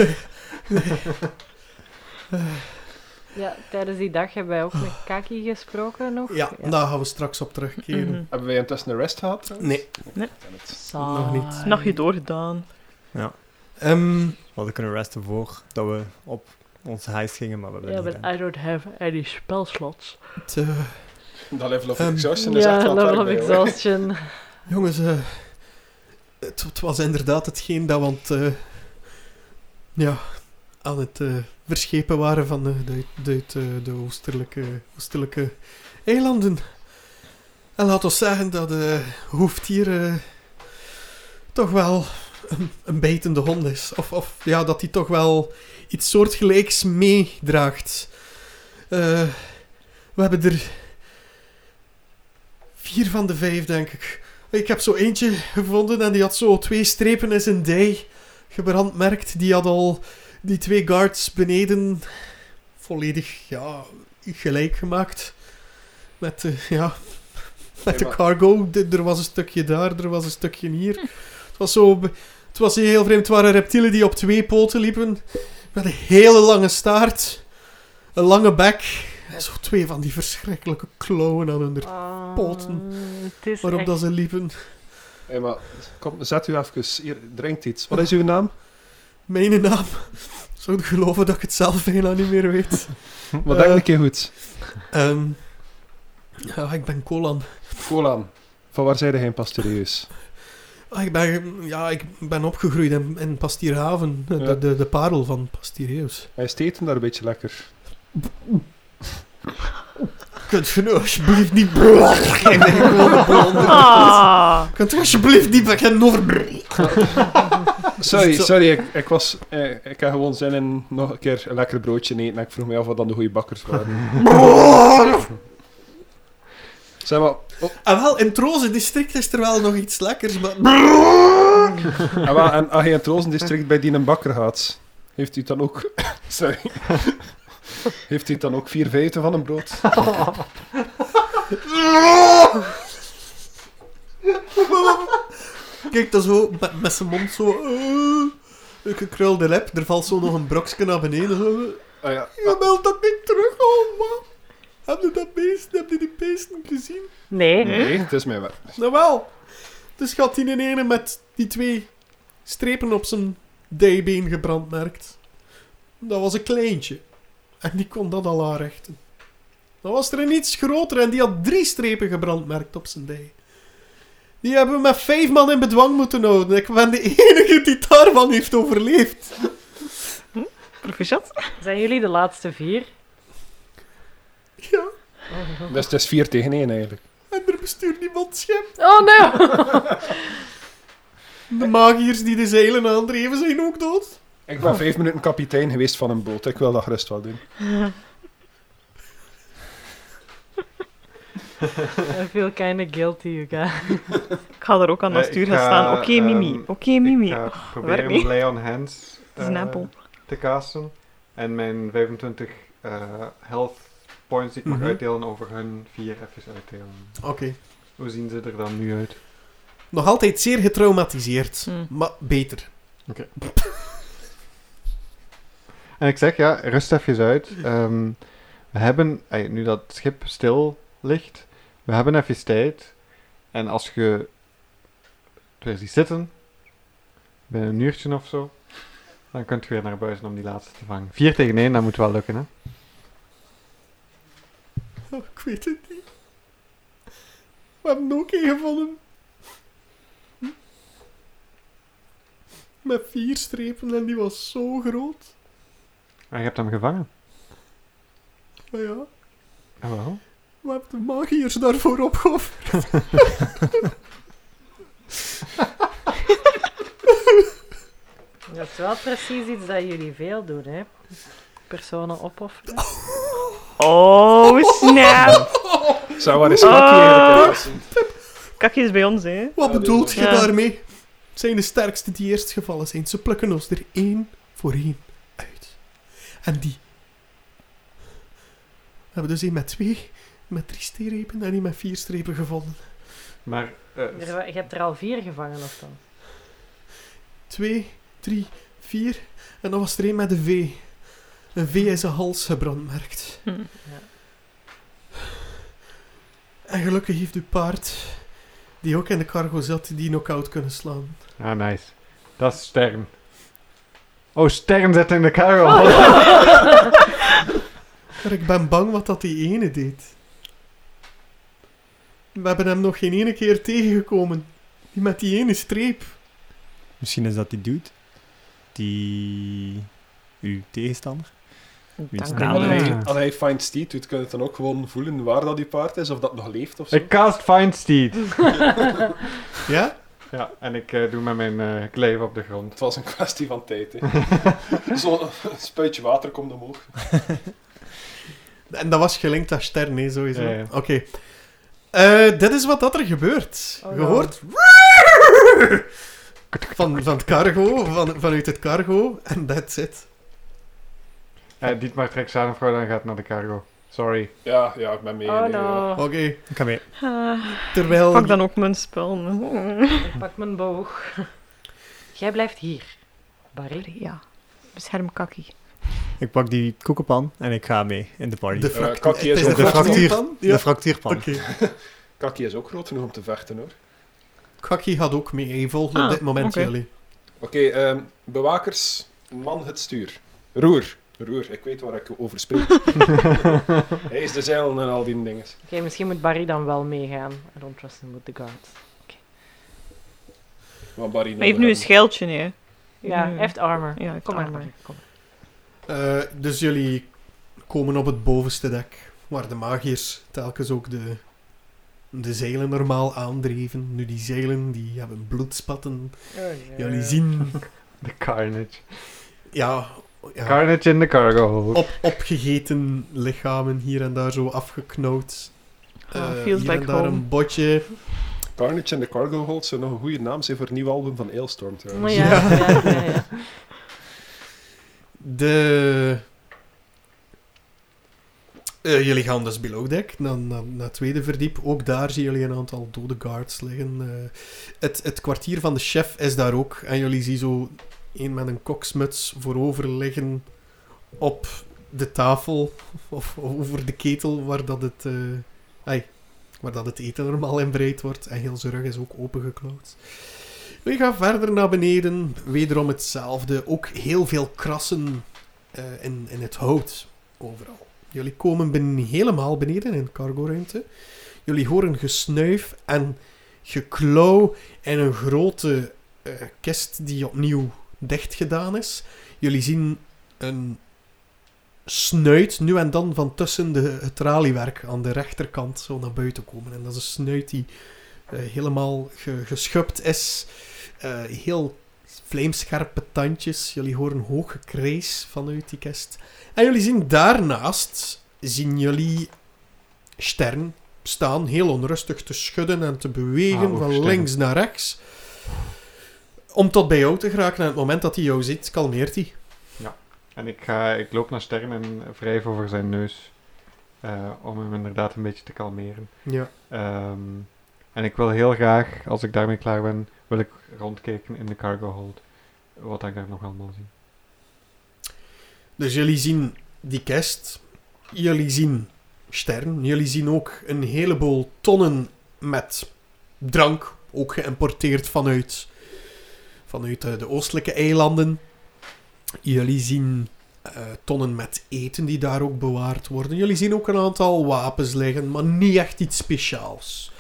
Speaker 4: Ja, tijdens die dag hebben wij ook met Kaki gesproken nog.
Speaker 1: Ja, daar gaan we straks op terugkeren.
Speaker 2: Mhm.
Speaker 3: Hebben wij intussen een rest gehad? trouwens?
Speaker 1: Nee.
Speaker 2: Nee.
Speaker 3: Goddammit.
Speaker 1: Nog niet.
Speaker 4: Saai.
Speaker 2: Nachtje doorgedaan.
Speaker 1: Ehm,
Speaker 6: We hadden kunnen resten voor dat we op onze heist gingen, maar we hebben
Speaker 4: Ja,
Speaker 6: het
Speaker 4: but
Speaker 6: niet
Speaker 4: I don't have any spelslots.
Speaker 1: het, eh,
Speaker 3: Dat level of
Speaker 1: Ehm,
Speaker 3: exhaustion is echt
Speaker 4: Ja,
Speaker 3: wel het
Speaker 4: level
Speaker 3: werk
Speaker 4: of
Speaker 3: bij, hoor.
Speaker 4: exhaustion.
Speaker 1: Jongens, eh, het, het was inderdaad hetgeen dat we aan het, eh, ja, aan het eh, verschepen waren van de, de, de, eh, de, de oostelijke, oostelijke eilanden. En laat ons zeggen dat eh hoeft hier eh, toch wel een, een bijtende hond is. Of, of ja, dat hij toch wel iets soortgelijks meedraagt. Eh, we hebben er vier van de vijf, denk ik. Ik heb zo eentje gevonden en die had zo twee strepen in zijn dij gebrandmerkt. Die had al die twee guards beneden volledig ja, gelijk gemaakt. Met, de- ja, met de
Speaker 3: maar-
Speaker 1: cargo. De- er was een stukje daar, er was een stukje hier. Het was zo... be- Het was heel vreemd. Het waren reptielen die op twee poten liepen. Met een hele lange staart. Een lange bek. En zo twee van die verschrikkelijke klauwen aan hun
Speaker 4: Ah,
Speaker 1: poten.
Speaker 4: Het is
Speaker 1: waarop
Speaker 4: echt-
Speaker 1: dat ze liepen.
Speaker 3: Hey, maar, kom, zet u even. Hier, drinkt iets. Wat is uw naam?
Speaker 1: Mijn naam. Zou je geloven dat ik het zelf bijna niet meer weet?
Speaker 3: Wat denk
Speaker 1: Eh.
Speaker 3: een keer goed?
Speaker 1: Ehm, ja, ik ben Colan.
Speaker 3: Colan, van waar zijn heen pasteurieus?
Speaker 1: Ah, ik, ben, ja, ik ben opgegroeid in, in Pastierhaven. De,
Speaker 3: Ja.
Speaker 1: de, de parel van Pastiereus.
Speaker 3: Hij is het eten daar een beetje lekker.
Speaker 1: Kunt je nu alsjeblieft niet blaffen? Ik ben gewoon een blonde.
Speaker 2: Ah,
Speaker 1: Kunt je alsjeblieft niet beginnen over...
Speaker 3: Sorry,
Speaker 1: zo-
Speaker 3: sorry, ik, ik was... eh, ik heb gewoon zin in nog een keer een lekker broodje eten. En ik vroeg me af wat dan de goede bakkers waren. Zeg maar... oh,
Speaker 1: En Ah, wel, in het Roze district is er wel nog iets lekkers, maar...
Speaker 3: en, wel, en als je in het Rozendistrict bij die een bakker gaat, heeft u dan ook... Sorry. Heeft u dan ook vier vijfde van een brood?
Speaker 1: Kijk, dat zo, met, met zijn mond zo... eh, gekrulde lip, er valt zo nog een brokje naar beneden. zo, eh.
Speaker 3: Ah ja.
Speaker 1: Je wilt dat niet terug, oh man. Heb je dat beest, heb je die beesten gezien?
Speaker 4: Nee.
Speaker 3: Nee, het is mijn werk.
Speaker 1: Nou wel. Dus gaat die in ene met die twee strepen op zijn dijbeen gebrandmerkt. Dat was een kleintje. En die kon dat al aanrechten. Dan was er een iets groter en die had drie strepen gebrandmerkt op zijn dij. Die hebben we met vijf man in bedwang moeten houden. Ik ben de enige die daarvan heeft overleefd.
Speaker 2: proficiat.
Speaker 4: Zijn jullie de laatste vier?
Speaker 1: Ja,
Speaker 3: Dus het is vier tegen één eigenlijk.
Speaker 1: en er bestuurt niemand schip.
Speaker 4: Oh nee!
Speaker 1: De magiërs die de zeilen aandreven zijn ook dood.
Speaker 3: Ik ben vijf minuten kapitein geweest van een boot. Ik wil dat gerust wel doen.
Speaker 4: I feel kinda guilty, you guys.
Speaker 2: Ik ga er ook aan
Speaker 5: Eh,
Speaker 2: het
Speaker 5: ik
Speaker 2: stuur gaan
Speaker 5: ga,
Speaker 2: staan. Oké,
Speaker 5: ehm,
Speaker 2: Mimi. Oké, Mimi.
Speaker 5: Ik ga
Speaker 2: Oh, werkt
Speaker 5: proberen
Speaker 2: niet.
Speaker 5: Lay on Hands
Speaker 2: is een
Speaker 5: eh,
Speaker 2: appel.
Speaker 5: te casten. En mijn 25 eh, health points die ik
Speaker 1: Mhm.
Speaker 5: mag uitdelen over hun vier even uitdelen.
Speaker 1: Oké.
Speaker 5: Hoe zien ze er dan nu uit?
Speaker 1: Nog altijd zeer getraumatiseerd,
Speaker 2: Hmm.
Speaker 1: maar beter.
Speaker 5: En ik zeg, ja, rust even uit. Ehm, we hebben, ey, nu dat het schip stil ligt, we hebben even tijd. En als je het weer ziet zitten, binnen een uurtje of zo, dan kunt je weer naar buiten om die laatste te vangen. 4 tegen 1, dat moet wel lukken, hè?
Speaker 1: Oh, ik weet het niet. We hebben ook één gevonden. Hm? Met vier strepen en die was zo groot.
Speaker 5: Maar je hebt hem gevangen.
Speaker 1: Maar ja,
Speaker 5: Oh, wel.
Speaker 1: we hebben de magiërs daarvoor opgeofferd.
Speaker 4: Dat is wel precies iets dat jullie veel doen, hè? Personen opofferen.
Speaker 2: Oh, snap.
Speaker 3: Zeg, waar is Kakkie eigenlijk? in?
Speaker 2: Kakje is bij ons, hè.
Speaker 1: Wat bedoelt je
Speaker 2: Ja.
Speaker 1: daarmee? Het zijn de sterkste die eerst gevallen zijn. Ze plukken ons er één voor één uit. En die... We hebben dus één met twee, met drie strepen en één met vier strepen gevonden.
Speaker 5: Maar eh,
Speaker 4: Er wa- Je hebt er al vier gevangen of dan?
Speaker 1: twee, drie, vier. En dan was er één met een V. Een V is een hals gebrandmerkt.
Speaker 2: Hm.
Speaker 1: En gelukkig heeft uw paard, die ook in de cargo zat, die knock-out kunnen slaan.
Speaker 5: Ah, nice. Dat is Stern. Oh, Stern zit in de karel.
Speaker 1: Maar ik ben bang wat dat die ene deed. We hebben hem nog geen ene keer tegengekomen. Die met die ene streep.
Speaker 6: Misschien is dat die dude. Die... Uw tegenstander. Wie is
Speaker 4: Dank
Speaker 6: dat?
Speaker 4: u Oh, wel.
Speaker 5: Ja.
Speaker 3: Als hij Find Steed doet, kun je het dan ook gewoon voelen waar dat die paard is, of dat nog leeft of zo.
Speaker 5: Ik cast Find Steed.
Speaker 1: Ja?
Speaker 5: Ja, en ik eh, doe met mijn eh kleef op de grond.
Speaker 3: Het was een kwestie van tijd. hè. Zo'n spuitje water komt omhoog.
Speaker 1: En dat was gelinkt aan Stern, hè, sowieso.
Speaker 5: Ja, ja.
Speaker 1: Oké. Eh, dit is wat dat er gebeurt.
Speaker 4: Oh,
Speaker 1: Je
Speaker 4: no.
Speaker 1: hoort... Van, van het cargo, van, vanuit het cargo. En that's it.
Speaker 5: Eh Dietmar trekt zijn vrouw en gaat naar de cargo. Sorry.
Speaker 3: Ja, ja, ik ben mee.
Speaker 4: Oh
Speaker 3: nee, ja.
Speaker 4: no.
Speaker 1: Oké.
Speaker 6: Ik ga mee.
Speaker 2: Ah,
Speaker 1: Terwijl...
Speaker 2: pak dan ook mijn spel.
Speaker 4: Ik pak mijn boog. Jij blijft hier. Barry.
Speaker 2: Ja. Bescherm Kakkie.
Speaker 6: Ik pak die koekenpan en ik ga mee in de party.
Speaker 1: De
Speaker 6: De,
Speaker 1: fract-
Speaker 3: Kakkie is
Speaker 1: het
Speaker 6: ook
Speaker 1: de
Speaker 6: een
Speaker 1: fractuur
Speaker 6: fractuur.
Speaker 1: dan? Ja.
Speaker 6: fractuurpan.
Speaker 1: Oké.
Speaker 3: Kaki is ook groot genoeg om te vechten hoor.
Speaker 1: Kaki gaat ook mee. Hij volgt op
Speaker 2: Ah,
Speaker 1: dit moment
Speaker 2: oké.
Speaker 1: jullie.
Speaker 3: Oké, ehm, bewakers, man het stuur. Roer. Roer, ik weet waar ik over spreek. Hij is de zeilen en al die dingen.
Speaker 4: Oké, misschien moet Barry dan wel meegaan. I don't trust him with the guards.
Speaker 3: Maar Barry
Speaker 2: Hij heeft nu een schildje, hè.
Speaker 4: Ja,
Speaker 2: Nee.
Speaker 4: hij heeft armor.
Speaker 2: Ja, ik
Speaker 4: Kom maar,
Speaker 2: maar.
Speaker 4: Barry. Kom maar.
Speaker 1: Eh, dus jullie komen op het bovenste dek, waar de magiërs telkens ook de, de zeilen normaal aandreven. Nu die zeilen, die hebben bloedspatten. Jullie zien,
Speaker 5: De carnage.
Speaker 1: ja, ja Oh.
Speaker 5: Carnage in de cargo hold.
Speaker 1: op, opgegeten lichamen hier en daar zo afgeknauwd.
Speaker 2: Ah,
Speaker 1: Eh,
Speaker 2: feels
Speaker 1: hier en
Speaker 2: like
Speaker 1: daar
Speaker 2: home.
Speaker 1: een botje.
Speaker 3: Carnage in the Cargo Hold zou nog een goede naam zijn voor het nieuwe album van Aelstorm trouwens.
Speaker 4: Maar ja, ja, ja, ja, ja.
Speaker 1: De... Eh, jullie gaan dus below deck, dan naar, naar het tweede verdiep. Ook daar zien jullie een aantal dode guards liggen. Eh, het, het kwartier van de chef is daar ook. En jullie zien zo een met een koksmuts voorover liggen op de tafel. Of over de ketel waar dat het, eh, ai, waar dat het eten normaal in bereid wordt. En heel zijn rug is ook opengeklauwd. We gaan verder naar beneden. Wederom hetzelfde. Ook heel veel krassen eh, in, in het hout. Overal. Jullie komen ben helemaal beneden in de cargoruimte. Jullie horen gesnuif en geklauw in een grote eh, kist die opnieuw dicht gedaan is. Jullie zien een snuit nu en dan van tussen de, het traliewerk aan de rechterkant zo naar buiten komen. En dat is een snuit die eh, helemaal ge- geschupt is. Eh, heel vleemscherpe tandjes. Jullie horen hoog gekrees vanuit die kist. En jullie zien daarnaast, zien jullie Stern staan, heel onrustig te schudden en te bewegen
Speaker 5: Ah, oef,
Speaker 1: van
Speaker 5: Stern.
Speaker 1: links naar rechts. Om tot bij jou te geraken. En het moment dat hij jou ziet, kalmeert hij.
Speaker 5: En ik, ga, ik loop naar Stern en wrijf over zijn neus. eh, om hem inderdaad een beetje te kalmeren.
Speaker 1: Ja.
Speaker 5: Ehm, en ik wil heel graag, als ik daarmee klaar ben, wil ik rondkijken in de cargo hold. Wat ik daar nog allemaal zie.
Speaker 1: Dus jullie zien die kist. Jullie zien Stern. Jullie zien ook een heleboel tonnen met drank. Ook geïmporteerd vanuit, vanuit eh, de oostelijke eilanden. Jullie zien eh, tonnen met eten die daar ook bewaard worden. Jullie zien ook een aantal wapens liggen, maar niet echt iets speciaals.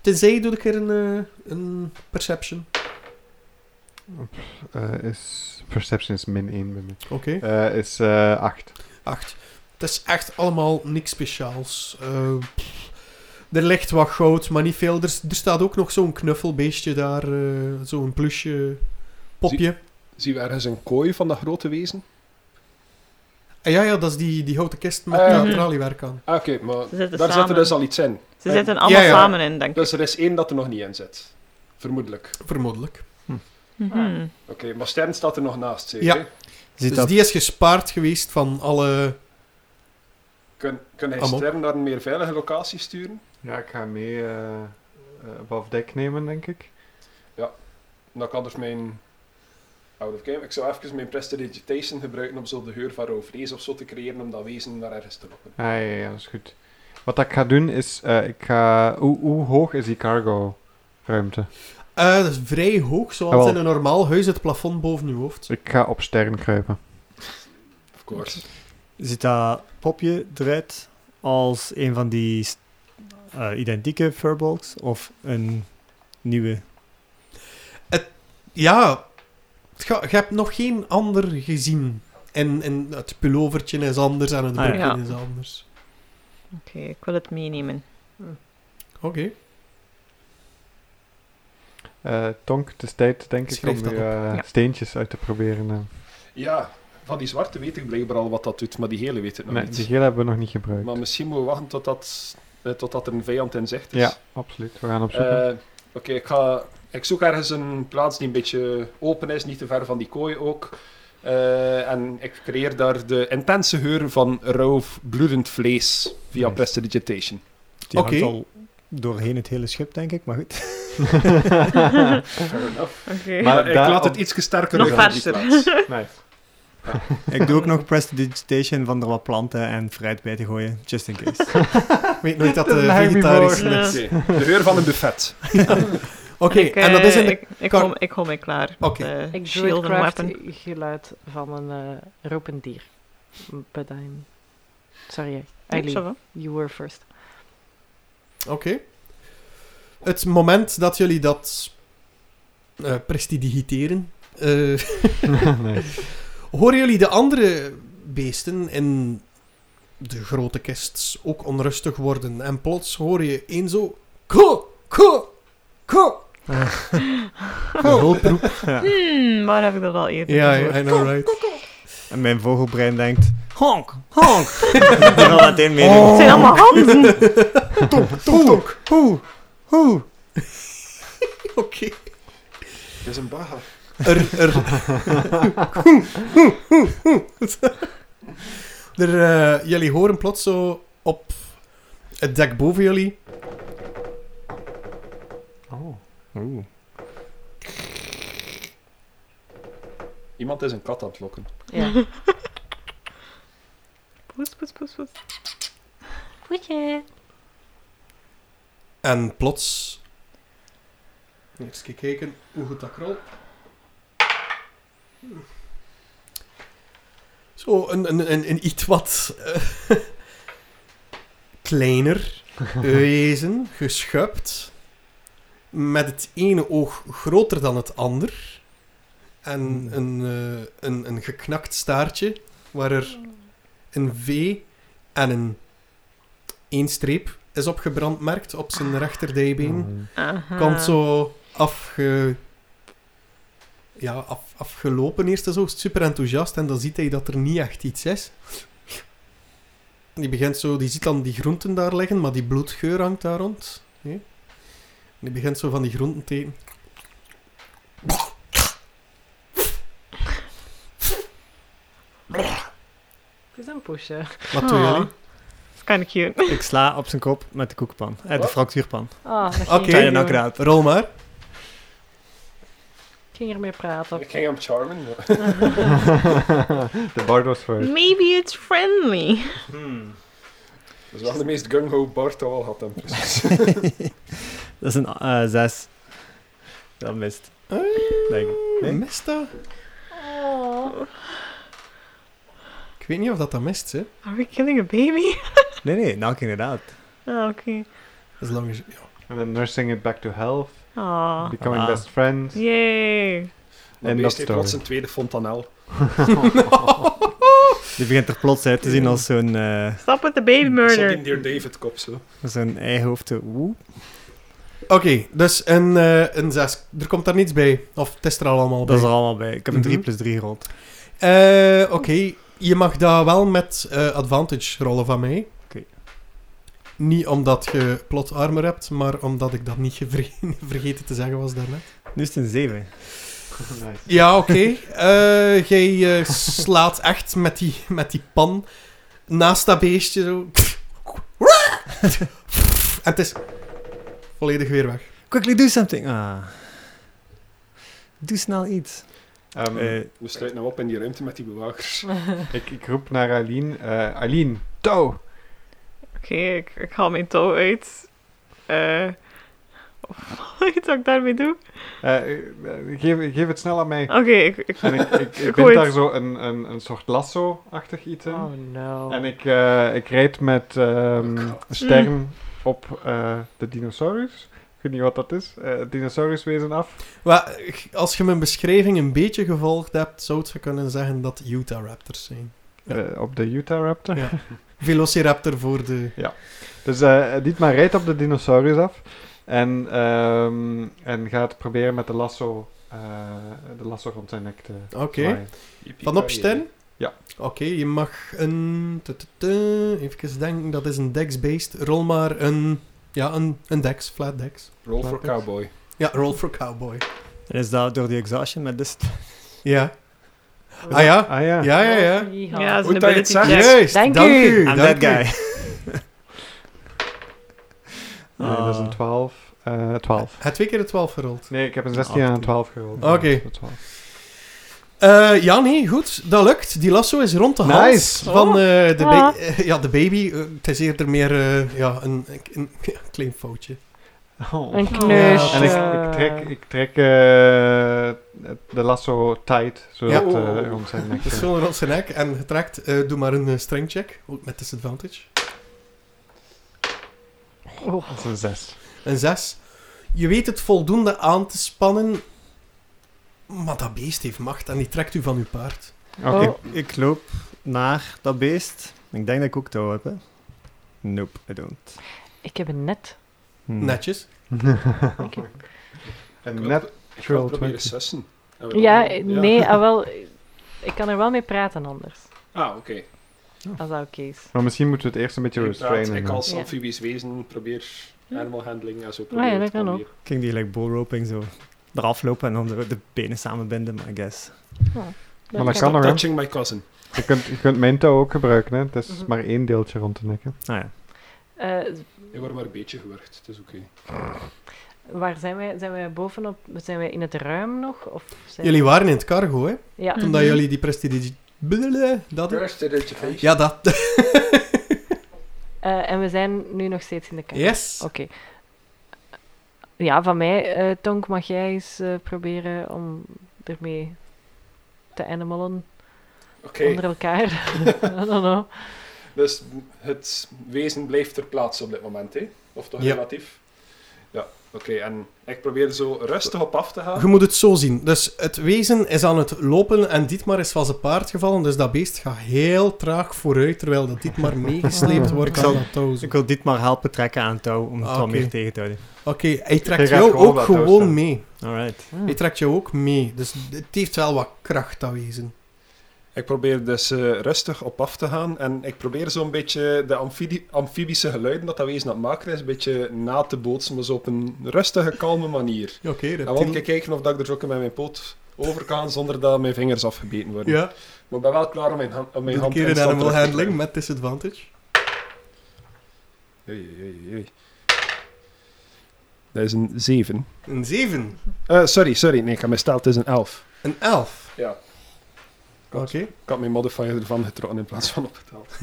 Speaker 1: Tenzij doe ik er een, eh, een perception.
Speaker 5: Eh, is, perception is min 1 bij mij.
Speaker 1: Oké.
Speaker 5: Eh, is eh 8.
Speaker 1: 8. Het is echt allemaal niks speciaals. Eh, pff, er ligt wat goud, maar niet veel. Er, s- er staat ook nog zo'n knuffelbeestje daar. eh, zo'n plusje popje.
Speaker 3: Zien we ergens een kooi van dat grote wezen?
Speaker 1: Ah, ja, ja, dat is die, die houten kist met
Speaker 3: Ah, ja.
Speaker 1: dat traliewerk aan.
Speaker 3: Ah, oké, maar
Speaker 2: Ze zitten
Speaker 3: daar zit er
Speaker 2: samen.
Speaker 3: dus al iets in.
Speaker 2: Ze
Speaker 3: Eh,
Speaker 2: zitten allemaal
Speaker 1: ja.
Speaker 2: samen in, denk ik.
Speaker 3: Dus er is één dat er nog niet in zit. Vermoedelijk.
Speaker 1: Vermoedelijk.
Speaker 2: Mhm.
Speaker 3: Oké, maar Stern staat er nog naast, zeker?
Speaker 1: Ja.
Speaker 3: hè?
Speaker 6: Ziet
Speaker 1: dus
Speaker 6: dat,
Speaker 1: die is gespaard geweest van alle...
Speaker 3: Kun, kun hij
Speaker 1: Amon.
Speaker 3: Stern naar een meer veilige locatie sturen?
Speaker 5: Ja, ik ga mee eh eh, above deck nemen, denk ik.
Speaker 3: Dan kan dus mijn... Out of game. Ik zou even mijn prestidigitation gebruiken om zo de geur van rauw vlees of zo te creëren om dat wezen naar ergens te lokken.
Speaker 5: Ah, ja, ja, ja, dat is goed. Wat ik ga doen is, eh, ik ga... Hoe, hoe hoog is die cargo ruimte?
Speaker 1: Eh, dat is vrij hoog, zoals
Speaker 5: Jawel.
Speaker 1: in een normaal huis het plafond boven je hoofd.
Speaker 5: Ik ga op Stern kruipen.
Speaker 3: Of course.
Speaker 6: ziet dat popje eruit als een van die st- eh, identieke furballs of een nieuwe?
Speaker 1: Ja, het ga- je hebt nog geen ander gezien. En, en het pullovertje is anders en het
Speaker 6: Ah, ja.
Speaker 1: broekje
Speaker 2: Ja.
Speaker 1: is anders.
Speaker 2: Oké, ik wil het meenemen.
Speaker 1: Oké.
Speaker 5: Eh, Eh, Tonk, het is tijd, denk ik,
Speaker 1: Schrijf
Speaker 5: om
Speaker 1: dat
Speaker 5: weer eh,
Speaker 4: Ja.
Speaker 5: steentjes uit te proberen. eh.
Speaker 3: Ja, van die zwarte weet ik blijkbaar al wat dat doet, maar die gele weet het nog
Speaker 5: Nee,
Speaker 3: niet.
Speaker 5: die gele hebben we nog niet gebruikt.
Speaker 3: Maar misschien moeten we wachten tot, dat, eh, tot dat er een vijand in zicht is.
Speaker 5: Ja, absoluut. We gaan op zoek.
Speaker 3: dus- Eh, Oké, ik ga... Ik zoek ergens een plaats die een beetje open is, niet te ver van die kooi ook. Eh, en ik creëer daar de intense geur van rauw bloedend vlees via
Speaker 5: Nice.
Speaker 3: prestidigitation.
Speaker 6: Die
Speaker 1: Oké.
Speaker 6: hangt al doorheen het hele schip, denk ik, maar goed.
Speaker 3: Fair enough.
Speaker 2: Oké.
Speaker 5: Maar
Speaker 3: Maar ik
Speaker 5: daar-
Speaker 3: laat het iets sterker
Speaker 2: Nog
Speaker 3: ruiken op die
Speaker 2: verser.
Speaker 3: plaats.
Speaker 5: Nice.
Speaker 6: ik doe ook nog prestidigitation van er wat planten en fruit bij te gooien, just in case.
Speaker 1: Ik weet nooit dat de
Speaker 5: Dat is een
Speaker 1: vegetarisch...
Speaker 2: herbivore.
Speaker 1: is.
Speaker 2: Ja.
Speaker 3: Oké, De geur van een buffet.
Speaker 1: Oké,
Speaker 2: Ik, eh,
Speaker 1: en dat is in de...
Speaker 2: ik, ik,
Speaker 1: kar-
Speaker 2: hou, ik hou mij klaar. met,
Speaker 1: Oké.
Speaker 2: eh,
Speaker 4: Ik doe
Speaker 2: shield
Speaker 4: het
Speaker 2: en
Speaker 4: craft
Speaker 2: weapon.
Speaker 4: geluid van een eh, ropend dier. But I'm... Sorry,
Speaker 2: Nee, ça
Speaker 4: Eileen,
Speaker 2: va.
Speaker 4: you were first.
Speaker 1: Oké. Het moment dat jullie dat eh prestidigiteren, eh,
Speaker 5: nice.
Speaker 1: horen jullie de andere beesten in de grote kist ook onrustig worden. En plots hoor je één zo... Ko, ko, ko.
Speaker 6: Een hulproep. Ja.
Speaker 2: Hmm, waar heb ik dat al eerder
Speaker 1: Ja,
Speaker 2: gehoord?
Speaker 1: I know right.
Speaker 6: En mijn vogelbrein denkt, honk, honk. ik ben al meteen mee.
Speaker 2: Het
Speaker 4: Oh.
Speaker 2: zijn allemaal handen.
Speaker 1: Tonk. Hoe, hoe. Oké.
Speaker 3: Het is een baga.
Speaker 1: Er, er... er eh, jullie horen plots zo op het dek boven jullie.
Speaker 5: Oh.
Speaker 6: Oeh.
Speaker 3: Iemand is een kat aan het lokken.
Speaker 4: Ja.
Speaker 2: Poes, poes, poes, poes.
Speaker 4: Goedje.
Speaker 1: En plots... Eerst kijken hoe goed dat krol. Zo, een, een, een, een iets wat... eh, kleiner wezen, geschupt. Met het ene oog groter dan het ander. En een, eh, een, een geknakt staartje, waar er een V en een één streep is op gebrandmerkt op zijn rechterdijbeen
Speaker 2: Aha.
Speaker 1: kant zo afge... ja, af, afgelopen eerst en zo, super enthousiast. En dan ziet hij dat er niet echt iets is. Die begint zo, die ziet dan die groenten daar liggen, maar die bloedgeur hangt daar rond. hè. En Die begint zo van die groenten te eten.
Speaker 4: Het is een poesje.
Speaker 1: Wat doen
Speaker 2: Ah.
Speaker 1: jullie?
Speaker 2: Dat is kind of cute.
Speaker 6: Ik sla op zijn kop met de koekenpan. Eh, de
Speaker 3: Wat?
Speaker 6: fractuurpan.
Speaker 4: Ah,
Speaker 1: Oké.
Speaker 4: dat ging
Speaker 6: Zijn
Speaker 4: je
Speaker 6: je nou
Speaker 4: doen.
Speaker 6: gedaan?
Speaker 1: Rol maar.
Speaker 4: Ik ging ermee praten.
Speaker 3: Ik ging hem charmen.
Speaker 5: de bard was first.
Speaker 2: Maybe it's friendly.
Speaker 3: Dat is wel de meest gung-ho Bart dat we al had. dan precies.
Speaker 6: Dat is een eh, zes. Dat mist.
Speaker 1: Eh,
Speaker 6: Denk ik. Nee?
Speaker 1: Mist dat?
Speaker 4: Oh.
Speaker 1: Ik weet niet of dat dat mist, hè.
Speaker 2: Are we killing a baby?
Speaker 6: Nee, nee, nou inderdaad.
Speaker 2: Ah, oké.
Speaker 1: As long as... ja.
Speaker 5: And then nursing it back to health,
Speaker 2: Ah.
Speaker 5: becoming
Speaker 6: Ah.
Speaker 5: best friends.
Speaker 2: Yay.
Speaker 3: Maar
Speaker 5: En
Speaker 3: nu
Speaker 5: dat
Speaker 3: heeft hij plots
Speaker 5: story.
Speaker 3: een tweede fontanel.
Speaker 6: Die begint er plots uit te zien als zo'n eh
Speaker 2: Stop with the baby
Speaker 3: Zat in
Speaker 2: murder.
Speaker 3: Dear David kop zo.
Speaker 6: zo'n eihoofd. Oeh.
Speaker 1: Oké, dus een, eh, een zes. Er komt daar niets bij. Of het is er al allemaal bij.
Speaker 6: Dat is er allemaal bij. Ik heb een 3
Speaker 1: Mhm.
Speaker 6: plus 3 gerold.
Speaker 1: Eh, Oké, je mag daar wel met eh, advantage rollen van mij.
Speaker 6: Oké.
Speaker 1: Niet omdat je plot armor hebt, maar omdat ik dat niet gevre- vergeten te zeggen was daarnet.
Speaker 6: Nu is het een 7.
Speaker 5: nice.
Speaker 1: Ja, oké. Eh, jij eh, slaat echt met die, met die pan naast dat beestje zo. En het is volledig weer weg.
Speaker 6: Quickly do something. Ah. Doe snel iets.
Speaker 5: Ehm,
Speaker 6: Eh,
Speaker 3: We sluiten hem op in die ruimte met die bewakers.
Speaker 5: ik, ik roep naar Aline. eh Aline, touw!
Speaker 2: Oké, ik, ik haal mijn touw uit. Eh. of weet wat ik daarmee doe?
Speaker 5: Eh, eh, geef, geef het snel aan mij.
Speaker 2: Oké, ik, ik,
Speaker 5: En ik, ik, ik
Speaker 2: Goed.
Speaker 5: bind daar zo een, een, een soort lasso-achtig iets in.
Speaker 4: Oh no.
Speaker 5: En ik, eh, ik rijd met ehm, een stern op eh, de dinosaurus. Ik weet niet wat dat is. Eh, het dinosauruswezen af.
Speaker 1: Wel, als je mijn beschrijving een beetje gevolgd hebt, zou je kunnen zeggen dat Utah Raptors zijn.
Speaker 5: eh, op de Utah Raptor.
Speaker 1: Ja. Velociraptor voor de
Speaker 5: Dus eh Dietmar rijdt op de dinosaurus af. En, ehm, en gaat proberen met de lasso, eh, de lasso rond zijn nek te
Speaker 1: Oké.
Speaker 5: zwaaien.
Speaker 1: Van op Sten?
Speaker 5: Ja.
Speaker 1: Oké, je mag een... tu- tu- tu, Even denken, dat is een dex-based. Rol maar een... Ja, een, een dex, flat dex.
Speaker 3: Roll
Speaker 1: for
Speaker 3: for cowboy.
Speaker 1: Ja, roll for cowboy.
Speaker 6: En is dat door die exhaustion met dist?
Speaker 1: Ja. Ah ja.
Speaker 5: Ah ja.
Speaker 1: Ja, ja, ja.
Speaker 4: Yeehaw.
Speaker 2: Ja, dat is
Speaker 3: Goed
Speaker 2: een
Speaker 3: dat je
Speaker 2: ability
Speaker 3: het
Speaker 2: check.
Speaker 3: zegt.
Speaker 1: Juist,
Speaker 4: Dank
Speaker 1: dank
Speaker 4: u.
Speaker 1: u.
Speaker 6: I'm
Speaker 1: dank
Speaker 6: that
Speaker 1: u.
Speaker 6: guy.
Speaker 5: Nee, dat is een
Speaker 6: Ah.
Speaker 5: 12. eh 12.
Speaker 1: Hij twee keer de 12 gerold.
Speaker 5: Nee, ik heb een 16 en een 12 gerold.
Speaker 1: Oké.
Speaker 5: Dus een 12.
Speaker 1: Eh, ja, nee, goed. Dat lukt. Die lasso is rond de
Speaker 5: Nice.
Speaker 1: hals van eh, de, ba-
Speaker 4: Ja.
Speaker 1: eh, ja, de baby. Eh, het is eerder meer eh, ja, een, een, een klein foutje.
Speaker 5: Oh.
Speaker 4: Een kneusje.
Speaker 5: En ik, ik trek, ik trek eh, de lasso tight, zodat
Speaker 1: Ja.
Speaker 5: eh, rond zijn nek.
Speaker 1: Het is gewoon rond zijn nek en getrakt. eh doe maar een eh, strength check. Ook met disadvantage.
Speaker 5: Dat is een 6.
Speaker 1: Een 6. Je weet het voldoende aan te spannen. Maar dat beest heeft macht en die trekt u van uw paard.
Speaker 5: Oké.
Speaker 4: Oh.
Speaker 6: Ik loop naar dat beest. Ik denk dat ik ook touw heb, hè? Nope, I don't.
Speaker 4: Ik heb een net.
Speaker 6: Hmm.
Speaker 1: Netjes.
Speaker 4: Oké.
Speaker 5: Oh. En net
Speaker 3: Ik ga
Speaker 5: Roll
Speaker 3: het proberen
Speaker 5: 20.
Speaker 3: sussen. En we-
Speaker 4: Ja, nee, ah, wel, ik kan er wel mee praten anders.
Speaker 3: Ah, oké.
Speaker 6: Oh.
Speaker 4: Als dat oké is.
Speaker 5: Maar misschien moeten we het eerst een beetje
Speaker 3: Ik praat-
Speaker 5: restrainen.
Speaker 3: Ik als
Speaker 4: Ja.
Speaker 3: amfibisch wezen probeer
Speaker 4: Ja. Ah,
Speaker 3: animal handling en zo
Speaker 4: ja,
Speaker 3: proberen
Speaker 4: dat
Speaker 3: te
Speaker 4: kan
Speaker 3: combineren.
Speaker 6: Ik ging die like bull roping zo eraf lopen en dan de, de benen samenbinden, maar I guess.
Speaker 4: Oh,
Speaker 5: Maar dat
Speaker 4: kan.
Speaker 5: kan
Speaker 3: Stop
Speaker 5: nog, hè.
Speaker 3: touching my cousin.
Speaker 5: Je kunt, je kunt mijn touw ook gebruiken, hè. Het is
Speaker 4: Mhm.
Speaker 5: maar één deeltje rond de nekken.
Speaker 6: Ah ja.
Speaker 4: Eh,
Speaker 3: Je wordt maar een beetje gewurgd, het is oké.
Speaker 4: waar zijn wij? Zijn wij bovenop? Zijn wij in het ruim nog? Of zijn
Speaker 1: Jullie waren in het cargo, hè?
Speaker 4: Ja.
Speaker 2: Mhm.
Speaker 1: Omdat jullie die prestige... Blablabla, Dat
Speaker 3: Ja.
Speaker 1: Ja, dat.
Speaker 4: Eh, en we zijn nu nog steeds in de kamer.
Speaker 1: Yes.
Speaker 4: Oké. Ja, van mij, eh Tonk, mag jij eens eh, proberen om ermee te animalen
Speaker 3: Oké,
Speaker 4: onder elkaar? I don't know.
Speaker 3: dus het wezen blijft ter plaatse op dit moment, hè? Of toch
Speaker 1: Ja.
Speaker 3: relatief? Ja, oké. En ik probeer zo rustig op af te gaan.
Speaker 1: Je moet het zo zien. Dus het wezen is aan het lopen en Dietmar is van zijn paard gevallen. Dus dat beest gaat heel traag vooruit, terwijl dat Dietmar meegesleept wordt
Speaker 6: Ik zal-
Speaker 1: aan dat touw.
Speaker 6: Dus
Speaker 1: zo.
Speaker 6: ik wil dit maar helpen trekken aan het touw om het
Speaker 1: Ah,
Speaker 6: wat
Speaker 1: oké.
Speaker 6: meer tegen te houden.
Speaker 1: Oké, hij trekt
Speaker 5: gaat
Speaker 1: jou
Speaker 5: gewoon
Speaker 1: ook
Speaker 5: wel touw
Speaker 1: gewoon
Speaker 5: staan.
Speaker 1: mee.
Speaker 6: Alright.
Speaker 1: Hij trekt jou ook mee. Dus het heeft wel wat kracht, dat wezen.
Speaker 3: Ik probeer dus eh, rustig op af te gaan en ik probeer zo'n beetje de amfidi- amfibische geluiden dat dat wezen aan het maken is, een beetje na te bootsen, maar zo op een rustige, kalme manier.
Speaker 1: Oké,
Speaker 3: En wil ik kijken of dat ik er ook met mijn poot over kan zonder dat mijn vingers afgebeten worden.
Speaker 1: Ja,
Speaker 3: Maar ik ben wel klaar om mijn, hand- om mijn
Speaker 1: doe een
Speaker 3: hand
Speaker 1: keer een
Speaker 3: instant
Speaker 1: animal
Speaker 3: terug te
Speaker 1: handling met disadvantage.
Speaker 3: krijgen. Oei, oei, oei, oei. Dat is een 7.
Speaker 1: Een 7.
Speaker 3: sorry, sorry. Nee, ik heb mijn stijl. Het is een 11.
Speaker 1: Een 11.
Speaker 3: Ja.
Speaker 1: Oké.
Speaker 3: Ik had mijn modifier ervan getrokken in plaats van opgeteld.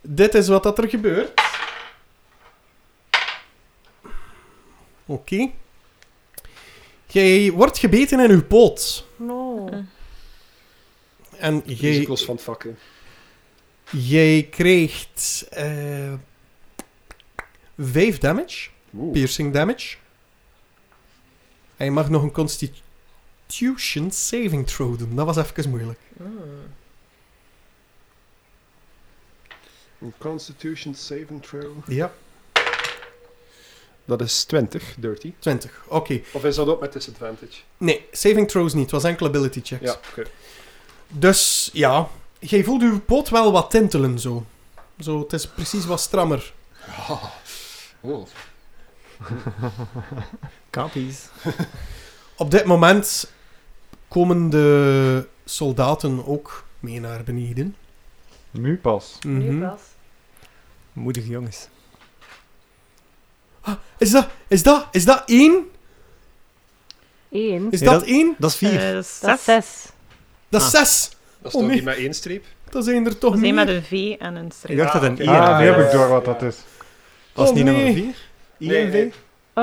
Speaker 1: Dit is wat dat er gebeurt. Oké. Jij wordt gebeten in uw poot.
Speaker 4: No.
Speaker 1: En jij,
Speaker 3: Risico's Dus van het vak, hè.
Speaker 1: jij krijgt... eh 5 damage.
Speaker 3: Oeh.
Speaker 1: Piercing damage. En je mag nog een Constitution saving throw doen. Dat was even moeilijk.
Speaker 3: Een Constitution saving throw.
Speaker 1: Ja.
Speaker 3: Dat is 20, dirty.
Speaker 1: 20. Oké.
Speaker 3: Of is dat ook met disadvantage?
Speaker 1: Nee, saving throws niet. Het was enkel ability checks.
Speaker 3: Ja, oké.
Speaker 1: Dus ja, jij voelt uw poot wel wat tintelen zo. Zo, het is precies wat strammer.
Speaker 3: Oh.
Speaker 6: Copies.
Speaker 1: Op dit moment komen de soldaten ook mee naar beneden.
Speaker 5: Nu pas.
Speaker 1: Mhm.
Speaker 6: Moedige jongens.
Speaker 1: Ah, Is dat, is dat, is dat één?
Speaker 4: Eén.
Speaker 1: Is
Speaker 6: Nee,
Speaker 1: dat
Speaker 6: dat-
Speaker 1: één?
Speaker 6: Dat is vier.
Speaker 2: Eh, dat is
Speaker 4: Dat is
Speaker 2: zes.
Speaker 4: zes.
Speaker 1: Dat is
Speaker 6: Ah.
Speaker 1: zes.
Speaker 3: Dat is
Speaker 1: Oh,
Speaker 3: toch
Speaker 1: nee.
Speaker 3: niet met één streep?
Speaker 1: Dat zijn er
Speaker 2: Dat
Speaker 1: toch
Speaker 2: is
Speaker 1: niet.
Speaker 2: één met een V en een
Speaker 6: ik
Speaker 2: streep.
Speaker 6: dacht
Speaker 3: Ah,
Speaker 6: dat een
Speaker 3: oké.
Speaker 6: I
Speaker 3: Ja,
Speaker 5: ah, nu
Speaker 3: ja,
Speaker 5: heb ik
Speaker 3: ja,
Speaker 5: door
Speaker 3: ja,
Speaker 5: wat
Speaker 3: ja.
Speaker 5: dat is.
Speaker 6: Was
Speaker 1: Oh,
Speaker 6: niet
Speaker 1: nee.
Speaker 6: nummer vier?
Speaker 3: Nee,
Speaker 6: INV?
Speaker 3: nee.